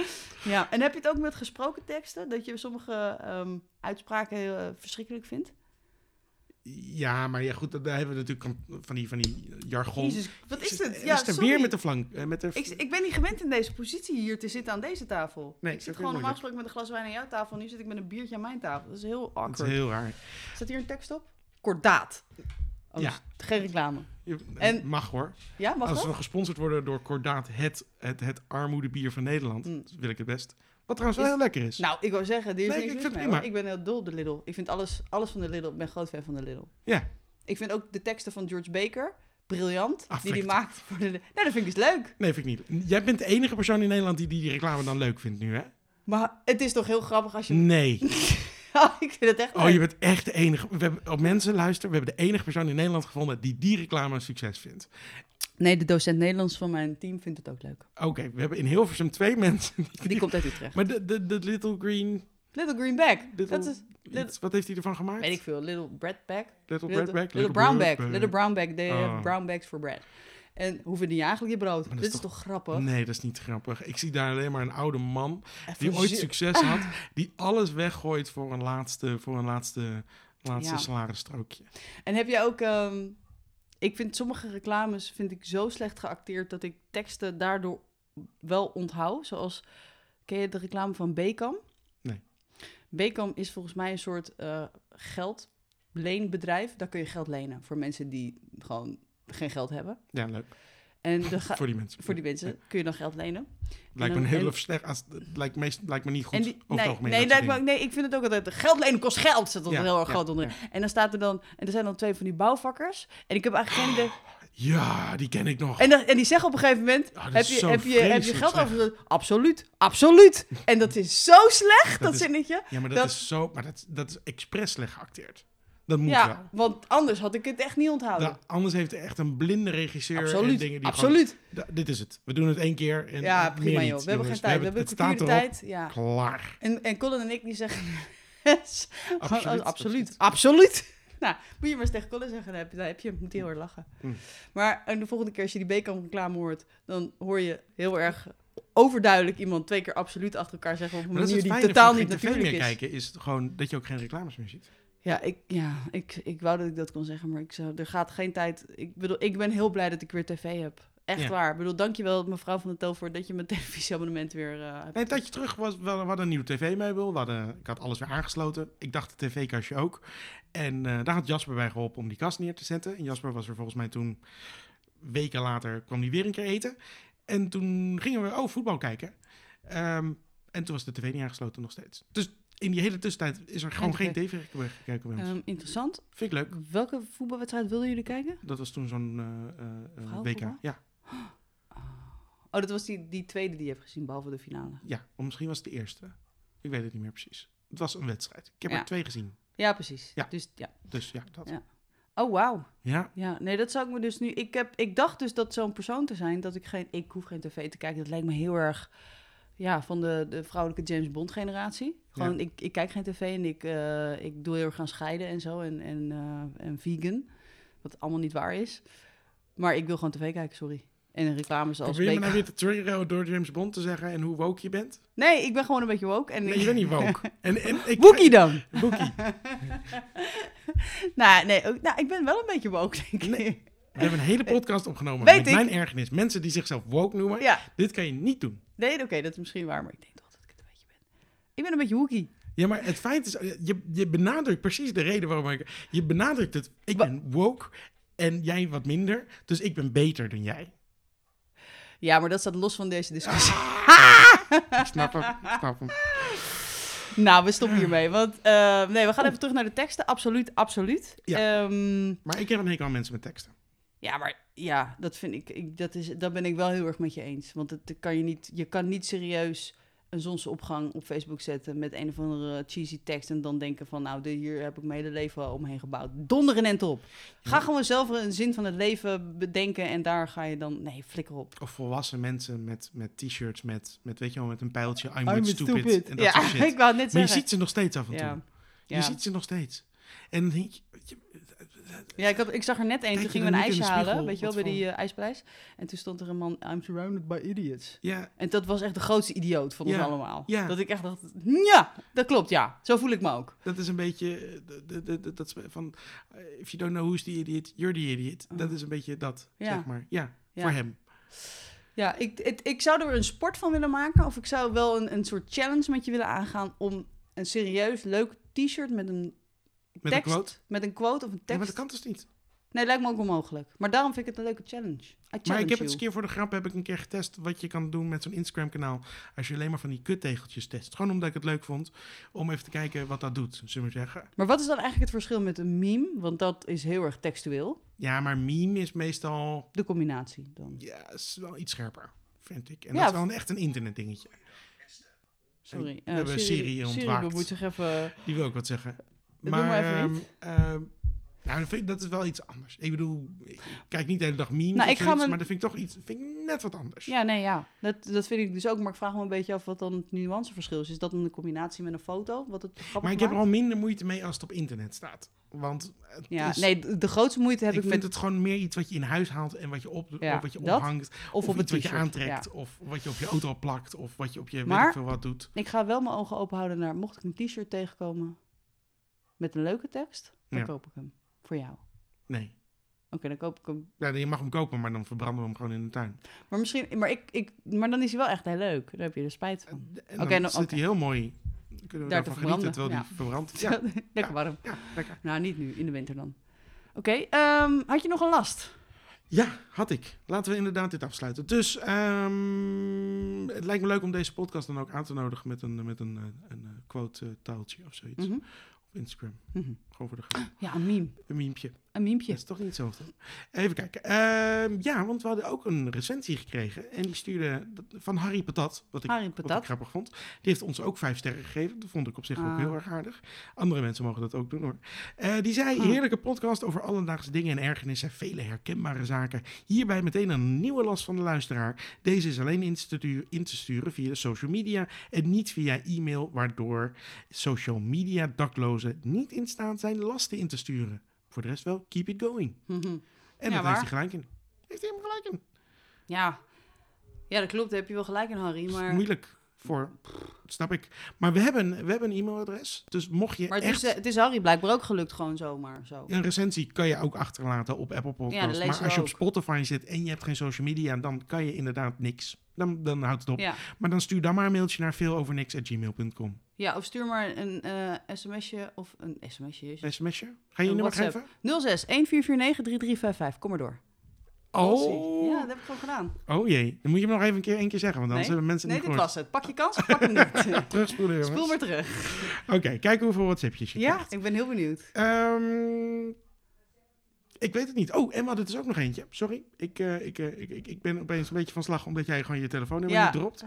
Ja, en heb je het ook met gesproken teksten? Dat je sommige ehm, uitspraken heel eh, verschrikkelijk vindt? Ja, maar ja, goed, dan hebben we natuurlijk kan- van die, van die jargon. Jezus, wat is dit? Ja, Ja, is er sorry. weer met de flank. eh, Met de... Ik, ik ben niet gewend in deze positie hier te zitten aan deze tafel. Nee, ik dat zit is gewoon heel normaal gesproken met een glas wijn aan jouw tafel. Nu zit ik met een biertje aan mijn tafel. Dat is heel Dat awkward. is heel raar. Staat hier een tekst op? Kordaat. Oh, Ja. dat is Geen reclame. Je- En- Mag hoor. Ja, mag Als dat? we gesponsord worden door Cordaat, het, het, het armoedebier van Nederland, Mm. wil ik het best. Wat trouwens wel Is- heel lekker is. Nou, ik wou zeggen, dit is Nee, niks ik mis vind het mee, prima. hoor. Ik ben heel dol op de Lidl. Ik vind alles, alles van de Lidl. Ik ben groot fan van de Lidl. Ja. Ik vind ook de teksten van George Baker briljant. die Affect. die maakt voor de Lidl. Nou, dat vind ik dus leuk. Nee, vind ik niet. Jij bent de enige persoon in Nederland die die, die reclame dan leuk vindt nu, hè? Maar het is toch heel grappig als je... Nee. ik vind het echt Mm. Oh, leuk. je bent echt de oh, enige. We hebben, op mensen, luister, we hebben de enige persoon in Nederland gevonden die die reclame een succes vindt. Nee, de docent Nederlands van mijn team vindt het ook leuk. Oké, we hebben in Hilversum twee mensen. Die, Die komt uit Utrecht. Maar de, de, de Little Green... Little Green Bag. Little- Dat is, iets, wat heeft hij ervan gemaakt? weet ik veel, Little Bread Bag. Little, Little, Red Bag? little Brown Bag. Bread Little Brown Bag. They have Oh. brown bags for bread. En hoe verdien je eigenlijk je brood? Dit Maar Oh, dat is is toch, grappig? Nee, dat is niet grappig. Ik zie daar alleen maar een oude man Even die ooit zeer- succes had, die alles weggooit voor een laatste, voor een laatste, laatste Ja. salarisstrookje. En heb jij ook... ehm, ik vind sommige reclames vind ik zo slecht geacteerd... dat ik teksten daardoor wel onthoud. Zoals, ken je de reclame van Becam? Nee. Becam is volgens mij een soort eh, geldleenbedrijf. Daar kun je geld lenen voor mensen die gewoon geen geld hebben. Ja, leuk. En de ga- voor die mensen. voor die mensen kun je dan geld lenen. Lijkt En me een dan- heel en- of slecht. Als, het lijkt, meest, lijkt me niet goed. En die, over het nee, algemeen, nee, dat dat soort wou- nee, ik vind het ook altijd. Geld lenen kost geld. Zit dat Ja, er heel erg ja, groot onder. En dan staat er dan. En er zijn dan twee van die bouwvakkers. En ik heb eigenlijk geen idee. dingen. Ja, die ken ik nog. En, dan- en die zeggen op een gegeven moment: Oh, dat heb, is je, zo heb, je, heb je vreselijk geld slecht. over? Absoluut, absoluut. En dat is zo slecht, dat, is- zinnetje. ja, maar dat, dat- is zo. Maar dat, dat is expres slecht geacteerd. Dat moet wel. Ja, want anders had ik het echt niet onthouden. Da- anders heeft er echt een blinde regisseur en absoluut, dingen die gewoon- absoluut. Da- dit is het. We doen het één keer. En ja, meer prima niet, joh. We hebben geen jongens. tijd. We hebben het een kwartier staat de erop. tijd. Ja. Klaar. En, en Colin en ik die zeggen... yes. Gewoon, oh, Absoluut, Absoluut. absoluut. Absoluut. Nou, moet je maar eens tegen Colin zeggen. Dan heb je, dan heb je hem. Moet hij heel erg lachen. Hm. Maar en de volgende keer als je die Beckham reclame hoort... dan hoor je heel erg overduidelijk iemand twee keer absoluut achter elkaar zeggen... op een Maar dat is manier het die fijne totaal van niet geen tv natuurlijk meer is. kijken, is gewoon dat je ook geen reclames meer ziet. Ja, ik, ja ik, ik wou dat ik dat kon zeggen, maar ik zou, er gaat geen tijd... Ik bedoel, ik ben heel blij dat ik weer tv heb. Echt Ja. waar. Ik bedoel, dankjewel mevrouw van de Tel voor dat je mijn televisieabonnement weer eh, hebt. Nee, een tijdje terug was we hadden een nieuw tv-meubel. We hadden- Ik had alles weer aangesloten. Ik dacht de tv-kastje ook. En eh, daar had Jasper bij geholpen om die kast neer te zetten. En Jasper was er volgens mij toen... Weken later kwam hij weer een keer eten. En toen gingen we, oh, voetbal kijken. Ehm, en toen was de tv niet aangesloten nog steeds. Dus in die hele tussentijd is er gewoon Geen geen tv gekeken bij ons. Ehm, interessant. Vind ik leuk. Welke voetbalwedstrijd wilden jullie kijken? Dat was toen zo'n eh, eh, eh, Vrouwenvoetbal? WK. Ja, Oh, dat was die, die tweede die je hebt gezien, behalve de finale. ja, of misschien was het de eerste. Ik weet het niet meer precies. Het was een wedstrijd. Ik heb Ja. er twee gezien. Ja, precies. Ja. Dus, ja. Dus ja, dat. Ja. Oh, wauw. ja. Ja, nee, dat zou ik me dus nu... Ik, heb, ik dacht dus dat zo'n persoon te zijn, dat ik geen... Ik hoef geen tv te kijken. Dat lijkt me heel erg ja, van de, de vrouwelijke James Bond generatie. Gewoon, ik, ik kijk geen tv en ik, eh, ik doe heel erg aan scheiden en zo. En, en, eh, en vegan, wat allemaal niet waar is. Maar ik wil gewoon tv kijken, sorry. En een reclame zoals... Probeer me Beek- nou weer te triggeren door James Bond te zeggen en hoe woke je bent. Nee, ik ben gewoon een beetje woke. En Nee, je ik- bent niet woke. En, en ik, Boekie dan! Boekie. nou, nee, ook, nou, ik ben wel een beetje woke, denk ik. Nee. We hebben een hele podcast opgenomen Weet met ik. mijn ergernis. Mensen die zichzelf woke noemen, Ja, dit kan je niet doen. nee, oké, dat is misschien waar, maar ik denk toch dat ik het een beetje ben. Ik ben een beetje hoekie. Ja, maar het feit is, eh, je, je benadrukt precies de reden waarom ik... Je benadrukt het, ik Wa- ben woke en jij wat minder, dus ik ben beter dan jij. Ja, maar dat staat los van deze discussie. Ah! Ik snap hem, ik snap hem. nou, we stoppen hiermee. Want eh, nee, we gaan even terug naar de teksten. Absoluut, absoluut. Ja. Ehm, Maar ik heb een hekel aan mensen met teksten. ja maar ja, dat vind ik, ik dat, is, dat ben ik wel heel erg met je eens. Want het kan je, niet, je kan niet serieus een zonsopgang op Facebook zetten met een of andere cheesy tekst en dan denken van, nou, de- hier heb ik mijn hele leven omheen gebouwd. Donderen en top. Ga gewoon zelf een zin van het leven bedenken en daar ga je dan, nee, flikker op. Of volwassen mensen met, met t-shirts met, met, weet je wel, met een pijltje. I'm, I'm with stupid. En dat ja, soort shit. ik wou het net Maar je zeggen. ziet ze nog steeds af en toe. ja. Je Ja. ziet ze nog steeds. En dan denk je, Ja, ik, had, ik zag er net één. Kijk Toen je gingen we een dan niet in ijsje de halen, spiegel? weet je wel, bij Wat die eh, ijsprijs. En toen stond er een man, I'm surrounded by idiots. ja, En dat was echt de grootste idioot van ons Ja, allemaal. ja. Dat ik echt dacht, ja, dat klopt, ja. Zo voel ik me ook. dat is een beetje, eh, de- de- de- de- dat is van, eh, if you don't know who's the idiot, you're the idiot. Dat is een beetje dat, Oh. Ja. zeg maar. Ja, Ja. voor hem. Ja, ik, het- ik zou er een sport van willen maken. Of ik zou wel een, een soort challenge met je willen aangaan om een serieus leuk t-shirt met een Met tekst, een quote. met een quote of een Ja, tekst. maar dat kan dus niet. Nee, lijkt me ook onmogelijk. Maar daarom vind ik het een leuke challenge. I challenge Maar ik heb you. het eens een keer voor de grap heb ik een keer getest wat je kan doen met zo'n Instagram kanaal als je alleen maar van die kuttegeltjes test. Gewoon omdat ik het leuk vond om even te kijken wat dat doet, zullen we zeggen. Maar wat is dan eigenlijk het verschil met een meme? Want dat is heel erg textueel. Ja, maar meme is meestal De combinatie dan. Ja, is wel iets scherper, vind ik. En Ja, dat is wel een, echt een internetdingetje. Sorry. We eh, hebben Siri ontwaakt. Siri bemoeit zich even... Die wil ik wat zeggen. Doe maar even ehm, ehm, Nou, dat, vind ik- dat is wel iets anders. Ik bedoel, ik kijk niet de hele dag memes Nou, ik of ga zoiets, mijn- maar dat vind ik toch iets, vind ik net wat anders. Ja, nee, ja. Dat, dat vind ik dus ook. Maar ik vraag me een beetje af wat dan het nuanceverschil is. Is dat dan de combinatie met een foto? Wat het grappig maar ik heb er maakt? al minder moeite mee als het op internet staat. Want het Ja, is- nee, de- de grootste moeite heb dus ik ik, vind met... het gewoon meer iets wat je in huis haalt en wat je, op, Ja, of wat je dat. ophangt. of op het iets wat je t-shirt. aantrekt. Ja. Of wat je op je auto plakt. Of wat je op je weet Maar- ik veel wat doet. Ik ga wel mijn ogen open houden naar... Mocht ik een t-shirt tegenkomen met een leuke tekst, dan Ja. koop ik hem. Voor jou. Oké, Nee. dan koop ik hem. Ja, je mag hem kopen, maar dan verbranden we hem gewoon in de tuin. Maar misschien... Maar, ik, ik, maar dan is hij wel echt heel leuk. Daar heb je er spijt van. En Oké, dan nou, zit oké. hij heel mooi. Dan kunnen we Daar te daarvan verbranden, genieten terwijl ja. die verbrand is. Eh, Ja, Ja. Lekker warm. ja, lekker. Nou, niet nu. In de winter dan. Oké, ehm, had je nog een last? Ja, had ik. Laten we inderdaad dit afsluiten. Dus ehm, het lijkt me leuk om deze podcast dan ook aan te nodigen met een, met een, eh, een eh, quote eh, taaltje of zoiets. Mhm. Op Instagram. Mhm. Gewoon voor de grap. Ja, een meme. Een miempje. Een Dat memepje. is toch niet hetzelfde? Even kijken. Ehm, ja, want we hadden ook een recensie gekregen. En die stuurde dat- van Harry Patat. Wat ik, Harry Wat Patat. ik grappig vond. Die heeft ons ook vijf sterren gegeven. Dat vond ik op zich ook Ah. heel erg aardig. Andere mensen mogen dat ook doen hoor. Eh, die zei, Ah. heerlijke podcast over alledaagse dingen en ergernissen. Vele herkenbare zaken. Hierbij meteen een nieuwe last van de luisteraar. Deze is alleen in te, sturen, in te sturen via de social media en niet via e-mail. Waardoor social media daklozen niet in staat zijn lasten in te sturen. Voor de rest wel, keep it going. Mhm. En Ja, dat waar. heeft hij gelijk in. Heeft hij hem gelijk in. Ja. Ja, dat klopt. Daar heb je wel gelijk in, Harry. Dat is Maar, moeilijk voor... pff, snap ik. Maar we hebben, we hebben een e-mailadres. Dus mocht je maar het, echt... is, eh, het is Harry blijkbaar ook gelukt gewoon zomaar zo. Een recensie kan je ook achterlaten op Apple Ja, dat Podcasts. lezen maar we als je op ook. Spotify zit en je hebt geen social media... dan kan je inderdaad niks. Dan, dan houdt het op. Ja. Maar dan stuur dan maar een mailtje naar veeloverniks.gmail.com. ja, of stuur maar een eh, sms'je of een sms'je. is- SMS'je? Ga je je Een nummer WhatsApp. geven? 06 1449 3355. Kom maar door. Oh. Ja, dat heb ik gewoon gedaan. oh jee. Dan moet je hem nog even een keer, één keer zeggen. Want anders Nee. hebben mensen Nee, het dit niet was gehoord. het. Pak je kans, pak hem niet. Terugspoelen, jongens. Spoel maar terug. Oké, kijk hoeveel WhatsAppjes je Ja, krijgt. ik ben heel benieuwd. Ehm, ik weet het niet. Oh, en we hadden dus ook nog eentje. Sorry. Ik, eh, ik, eh, ik, ik, ik ben opeens een beetje van slag omdat jij gewoon je telefoonnummer Ja. niet dropt.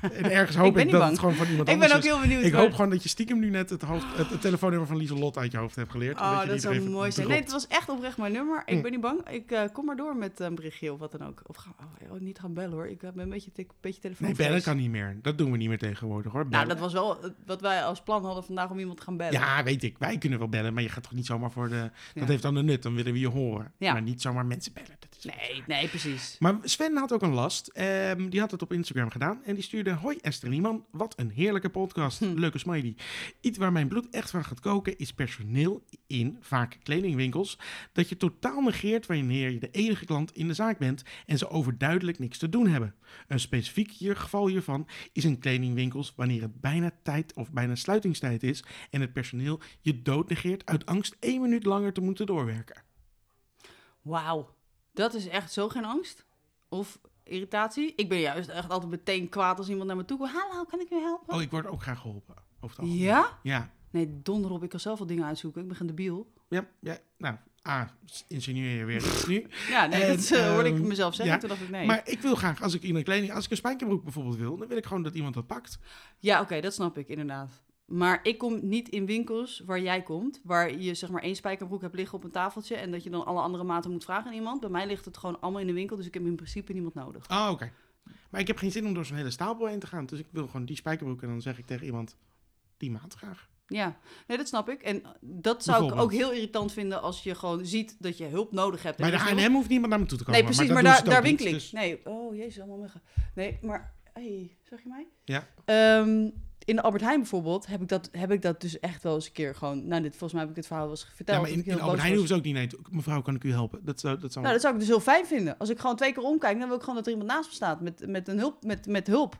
En ergens hoop ik, ben niet dat bang. het gewoon van iemand Ik ben anders ook is. heel benieuwd. Ik hoor. hoop gewoon dat je stiekem nu net het, hoofd, het, het telefoonnummer van Lieselot uit je hoofd hebt geleerd. omdat Oh, je dat die er zou even mooi zijn. Nee, dropt. het was echt oprecht mijn nummer. Hm. Ik ben niet bang. Ik eh, kom maar door met een berichtje of wat dan ook. Of ga, oh, niet gaan bellen hoor. Ik ben een beetje, tik- beetje telefoon. Nee, bellen kan niet meer. Dat doen we niet meer tegenwoordig hoor. Nou, Bellen. dat was wel eh, wat wij als plan hadden vandaag om iemand te gaan bellen. Ja, weet ik. Wij kunnen wel bellen, maar je gaat toch niet zomaar voor de... Ja. Dat heeft dan de nut, dan willen we je horen. Ja. Maar niet zomaar mensen bellen. Dat is Nee, nee, precies. Maar Sven had ook een last. Ehm, die had het op Instagram gedaan. En die stuurde: Hoi Esther Nieman, wat een heerlijke podcast. Leuke smiley. Iets waar mijn bloed echt van gaat koken is personeel in vaak kledingwinkels. Dat je totaal negeert wanneer je de enige klant in de zaak bent en ze overduidelijk niks te doen hebben. Een specifiek hier- geval hiervan is in kledingwinkels wanneer het bijna tijd of bijna sluitingstijd is en het personeel je dood negeert uit angst één minuut langer te moeten doorwerken. Wauw. Dat is echt zo geen angst. Of irritatie. Ik ben juist echt altijd meteen kwaad als iemand naar me toe komt. Hallo, kan ik u helpen? Oh, ik word ook graag geholpen. Over het algemeen. ja? Ja, Nee, donder op. Ik kan zelf wel dingen uitzoeken. Ik ben geen debiel. Ja, ja. Nou, A, insinueer je weer iets nu. Ja, nee, En, dat eh, hoorde ik ehm, mezelf zeggen. ja, Toen dacht ik nee. Maar ik wil graag, als ik in een kleding, als ik een spijkerbroek bijvoorbeeld wil, dan wil ik gewoon dat iemand dat pakt. Ja, oké, dat snap ik inderdaad. Maar ik kom niet in winkels waar jij komt, waar je zeg maar één spijkerbroek hebt liggen op een tafeltje en dat je dan alle andere maten moet vragen aan iemand. Bij mij ligt het gewoon allemaal in de winkel, dus ik heb in principe niemand nodig. Oh, oké. Maar ik heb geen zin om door zo'n hele stapel heen te gaan. Dus ik wil gewoon die spijkerbroek en dan zeg ik tegen iemand, die maat graag. Ja, nee, dat snap ik. En eh, dat zou ik ook Bijvoorbeeld. heel irritant vinden als je gewoon ziet dat je hulp nodig hebt. En Bij de er is H&M hoeft niemand naar me toe te komen. Nee, precies, dat maar, doen ze daar, het ook daar niet, winkel ik. dus- Nee, oh jezus, allemaal muggen. Nee, maar, hey, zag je mij? Ja. Ehm, in de Albert Heijn bijvoorbeeld heb ik, dat, heb ik dat dus echt wel eens een keer gewoon... Nou, dit, volgens mij heb ik dit verhaal wel eens verteld. Ja, maar dat in, ik heel in Albert boos Heijn was. hoeven ze ook niet nee te- Mevrouw, kan ik u helpen? Dat zou, dat zou Nou, dat zou ik dus heel fijn vinden. Als ik gewoon twee keer omkijk, dan wil ik gewoon dat er iemand naast me staat met, met, een hulp, met, met hulp.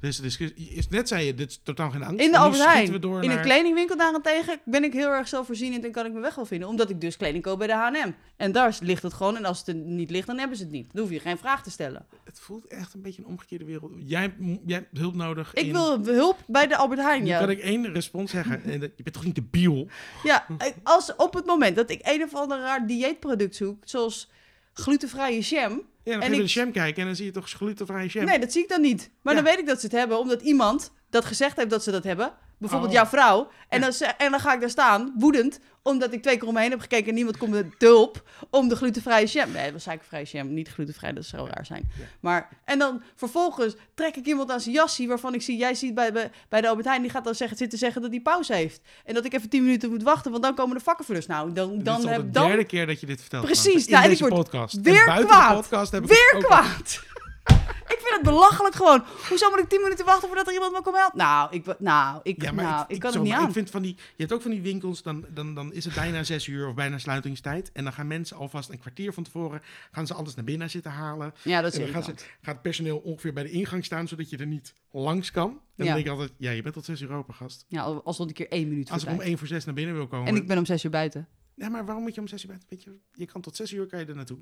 Dus de discussie, is, net zei je, dit is totaal geen angst. In de Nu Albert schieten Heijn. we In door een naar- kledingwinkel daarentegen ben ik heel erg zelfvoorzienend en kan ik me weg wel vinden. Omdat ik dus kleding koop bij de H&M. En daar ligt het gewoon. En als het er niet ligt, dan hebben ze het niet. Dan hoef je geen vraag te stellen. Het voelt echt een beetje een omgekeerde wereld. Jij, hebt- jij hebt hulp nodig. Ik in- wil hulp bij de Albert Heijn, Nu ja. kan ik één respons zeggen. En dat- Je bent toch niet de biel? Ja, als op het moment dat ik een of ander raar dieetproduct zoek, zoals glutenvrije jam. Ja, En dan ga je ik- naar de jam kijken en dan zie je toch glutenvrije jam. Nee, dat zie ik dan niet. Maar Ja. dan weet ik dat ze het hebben, omdat iemand dat gezegd heeft dat ze dat hebben. bijvoorbeeld Oh. jouw vrouw. En, Ja. dan, ze- en dan ga ik daar staan, woedend, omdat ik twee keer omheen heb gekeken en niemand komt met hulp om de glutenvrije jam. Nee, dat was suikervrije jam, niet glutenvrij, dat zou raar zijn. Ja. Maar, en dan vervolgens trek ik iemand aan zijn jassie waarvan ik zie, jij ziet bij, bij, bij de Albert Heijn, die gaat dan zeggen, zitten zeggen dat hij pauze heeft. En dat ik even tien minuten moet wachten, want dan komen de vakkenvullers. Nou, dan, dit dan is al de heb dan derde keer dat je dit vertelt. Precies, trouwens. In nou, en deze ik word podcast. En weer buiten kwaad. de podcast heb ik Weer het ook al- kwaad. ik vind het belachelijk gewoon. Hoezo moet ik 10 minuten wachten voordat er iemand me komt helpen? Nou, ik, wa- nou, ik, Ja, maar nou, ik, kan zo, het niet maar aan. Ik vind van die, je hebt ook van die winkels, dan, dan, dan is het bijna zes uur of bijna sluitingstijd. En dan gaan mensen alvast een kwartier van tevoren, gaan ze alles naar binnen zitten halen. Ja, dat is En dan gaan ze, irritant. gaat het personeel ongeveer bij de ingang staan, zodat je er niet langs kan. En dan Ja. denk ik altijd, ja, je bent tot zes uur open, gast. Ja, al al stond ik hier één minuut voor Als ik om tijd. één voor zes naar binnen wil komen. En ik ben om 6 uur buiten. Ja, maar waarom moet je om zes uur bij? Weet je, je kan tot zes uur kan je er naartoe.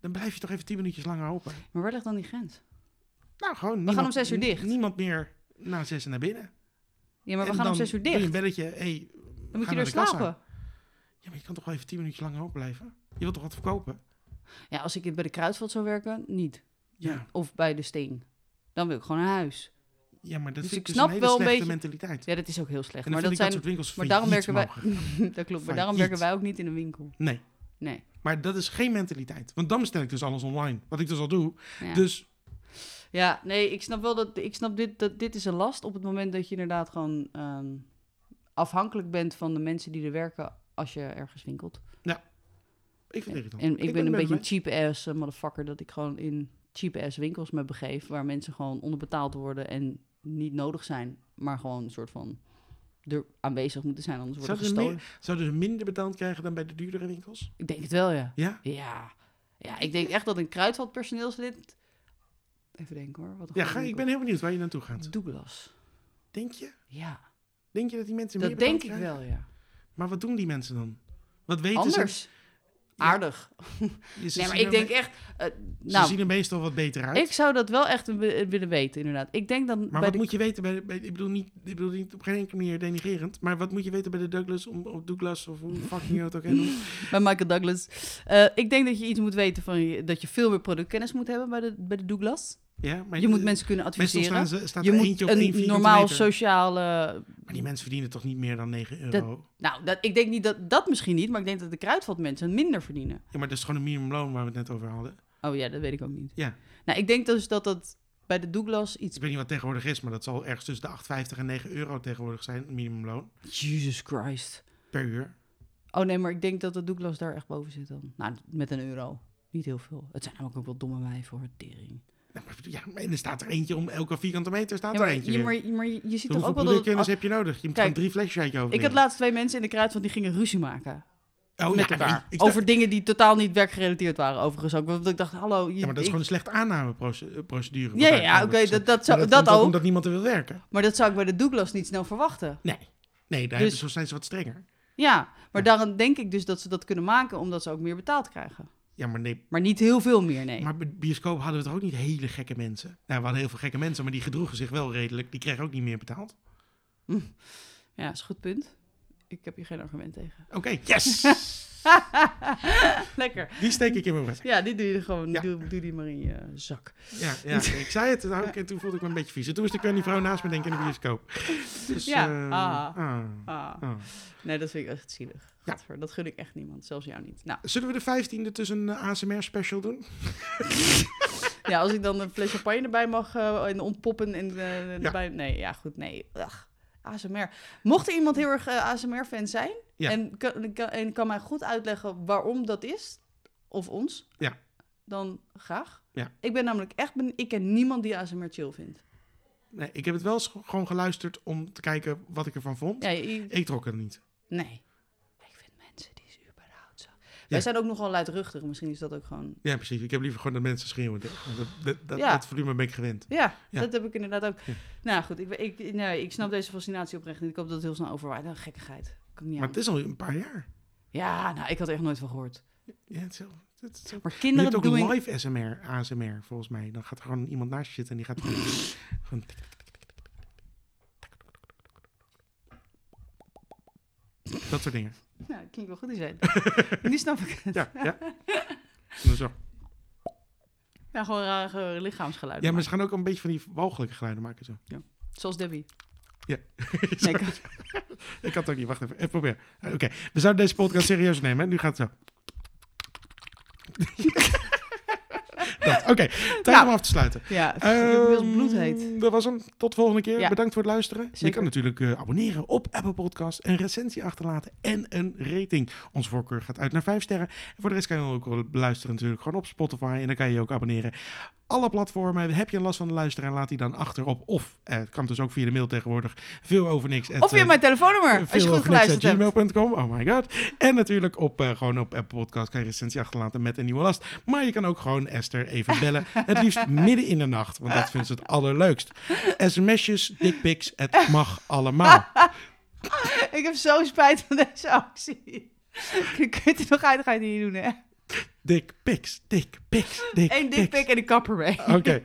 Dan blijf je toch even tien minuutjes langer open. Maar waar ligt dan die grens? Nou, gewoon. We om zes uur dicht. Niemand meer na zes naar binnen. Ja, maar we En gaan om dan 6 uur doe je dicht. een belletje. Hey, Dan moet ga je er naar de kassa. slapen. Ja, maar je kan toch wel even tien minuutjes langer open blijven? Je wilt toch wat verkopen? Ja, als ik bij de Kruidvat zou werken, niet. Ja, Of bij de Steen. Dan wil ik gewoon naar huis. ja maar dat Dus vind ik ik dus snap een hele wel een slechte beetje- mentaliteit. Ja, dat is ook heel slecht. En dan Maar vind dat ik dat zijn... soort winkels Maar daarom failliet werken wij... mogen. dat klopt, maar Failliet. daarom werken wij ook niet in een winkel. Nee, Nee. maar dat is geen mentaliteit. Want dan bestel ik dus alles online. Wat ik dus al doe. Ja. Dus Ja, nee, ik snap wel dat ik snap dit, dat dit is een last op het moment dat je inderdaad gewoon ehm, afhankelijk bent van de mensen die er werken als je ergens winkelt. ik vind het irritant. En ik, ben, een er beetje mee. een cheap ass eh, motherfucker dat ik gewoon in cheap ass winkels me begeef waar mensen gewoon onderbetaald worden en niet nodig zijn, maar gewoon een soort van er aanwezig moeten zijn anders worden Zouden ze gestolen. Zouden ze minder betaald krijgen dan bij de duurdere winkels? Ik denk het wel, ja. Ja? Ja. Ja, ik denk echt dat een Kruidvat personeelslid Even denken hoor. Wat een Ja, goede ga, ik ben winkel. heel benieuwd waar je naartoe gaat. Douglas. Denk je? Ja, Denk je dat die mensen meer dat betaald denk ik krijgen? wel, ja. Maar wat doen die mensen dan? Wat weten ze? Anders. Ja. Aardig. Je- ze nee, maar zien ik er denk me- echt... eh, Ze nou, zien er meestal wat beter uit. ik zou dat wel echt wi- eh, willen weten, inderdaad. Ik denk dan maar bij wat de... moet je weten bij, bij- ik bedoel niet, ik bedoel niet op geen enkele manier denigrerend, maar wat moet je weten bij de Douglas om, of Douglas of hoe fucking je het ook heet? bij Michael Douglas. Eh, ik denk dat je iets moet weten van... Je, dat je veel meer productkennis moet hebben bij de, bij de Douglas. Ja, maar Je moet mensen kunnen meestal staan adviseren. ze, staat Je er moet eentje op één een vierkante normaal meter. sociaal... Maar die mensen verdienen toch niet meer dan 9 euro? nou, dat, ik denk niet dat... Dat misschien niet, maar ik denk dat de kruidvatmensen minder verdienen. Ja, maar dat is gewoon een minimumloon waar we het net over hadden. Oh ja, dat weet ik ook niet. Ja. Nou, ik denk dus dat dat bij de Douglas iets... Ik weet niet wat tegenwoordig is, maar dat zal ergens tussen de 8,50 en 9 euro tegenwoordig zijn, een minimumloon, Jesus Christ. per uur. Oh nee, maar ik denk dat de Douglas daar echt boven zit dan. Nou, met een euro. Niet heel veel. Het zijn namelijk ook wel domme wijven voor het tering. Nou, maar, ja, maar- en er staat er eentje om elke vierkante meter, staat Ja, er maar, eentje je, weer. maar, je- maar je je ziet toch Hoeveel ook wel dat... het- productkennis heb je nodig? Je moet Kijk, gewoon drie flesjes uit je hoofd ik had leren. laatst twee mensen in de kruid, want die gingen ruzie maken. Oh, met ja, elkaar. ik- ik- over dingen die totaal niet werkgerelateerd waren, overigens ook. Want ik dacht, hallo... Je, Ja, maar dat is ik- gewoon een slechte aannameprocedure. Ja, ja, ja, oké, dat, dat, zou, dat, ook. Omdat niemand er wil werken. Maar dat zou ik bij de Douglas niet snel verwachten. Nee. Nee, daar Dus- hebben ze- zijn ze wat strenger. Ja, maar Ja. daarom denk ik dus dat ze dat kunnen maken, omdat ze ook meer betaald krijgen. Ja, maar nee. Maar niet heel veel meer, nee. Maar bij de bioscoop hadden we toch ook niet hele gekke mensen? Nou, we hadden heel veel gekke mensen, maar die gedroegen zich wel redelijk. Die kregen ook niet meer betaald. Ja, is een goed punt. Ik heb hier geen argument tegen. Oké, yes! Lekker. die steek ik in mijn bed. Ja, die doe je er gewoon. Ja. Doe, doe die maar in je zak. Ja, ja, ik zei het nou, en toen voelde ik me een beetje vies. En toen moest ik aan die vrouw naast me denken in de bioscoop. Dus, Ja, eh, ah. ah, Ah. ah. Nee, dat vind ik echt zielig. Ja. Gadver, Dat gun ik echt niemand, zelfs jou niet. Nou, Zullen we de vijftiende tussen een eh, ASMR-special doen? ja, als ik dan een fles champagne erbij mag eh, en ontpoppen en eh, Ja. erbij... Nee, ja, goed, nee. Ach, ASMR. Mocht er iemand heel erg eh, ASMR-fan zijn Ja. en, kan, kan- en kan mij goed uitleggen waarom dat is, of ons, Ja. dan graag. Ja. Ik ben namelijk echt... Ben, ik ken niemand die ASMR chill vindt. Nee, ik heb het wel eens ge- gewoon geluisterd om te kijken wat ik ervan vond. Ja, je- Ik trok het niet. Nee. Ik vind mensen die ze überhaupt zo... Wij zijn ook nogal luidruchtig. Misschien is dat ook gewoon... Ja, precies. Ik heb liever gewoon dat mensen schreeuwen. Dat, dat, dat, Ja. dat volume ben ik gewend. Ja, Ja. dat heb ik inderdaad ook. Ja. Nou goed, ik, ik, nou, ik snap deze fascinatie oprecht niet. Ik hoop dat het heel snel overwaait. Nou, gekkigheid. Kan ik niet Maar aan. het is al een paar jaar. Ja, nou, ik had er echt nooit van gehoord. Ja, het is heel- het is heel- Maar Je hebt kinderen ook doen... live ASMR, ASMR, volgens mij. Dan gaat er gewoon iemand naast je zitten en die gaat... gewoon tik, tik, tik, tik, tik, tik, tik. Dat soort dingen. Nou, klinkt wel goed die zijn. nu snap ik het. Ja, ja. En dan zo. Ja, Nou, gewoon rare lichaamsgeluiden. Ja, maken. maar ze gaan ook een beetje van die walgelijke geluiden maken. Zo. Zoals Debbie. Ja. Nee, ik- Ik had het ook niet. Wacht even. Even proberen. Eh, Oké. We zouden deze podcast serieus nemen. Hè? Nu gaat het zo. Dat, Oké. Tijd Nou. om af te sluiten. ja, ik heb inmiddels bloed heet. Ehm, Dat was hem. Tot volgende keer. Ja. Bedankt voor het luisteren. Je Zeker. kan natuurlijk eh, abonneren op Apple Podcast, een recensie achterlaten en een rating. Onze voorkeur gaat uit naar 5 sterren. En voor de rest kan je ook wel luisteren natuurlijk gewoon op Spotify en dan kan je je ook abonneren. Alle platformen, heb je last van de luisteraar, laat die dan achter op. Of, eh, het kan dus ook via de mail tegenwoordig, veel over niks. Of weer mijn telefoonnummer, als je goed geluisterd hebt. gmail.com, oh my god. En natuurlijk op, eh, gewoon op Apple Podcast kan je recensie achterlaten met een nieuwe last. Maar je kan ook gewoon Esther even bellen. het liefst midden in de nacht, want dat vindt ze het allerleukst. SMS'jes, dickpics, het mag Ah. allemaal. Ik heb zo spijt van deze actie. Je kunt er nog uit, ga je het niet doen, hè? Dickpics, dickpics, dickpics. Eén dikpik en een kapper mee. Oké.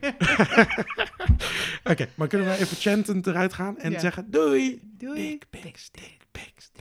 Oké, maar kunnen we even chantend eruit gaan en Ja. zeggen doei. Doei. Dickpics, dickpics, dickpics.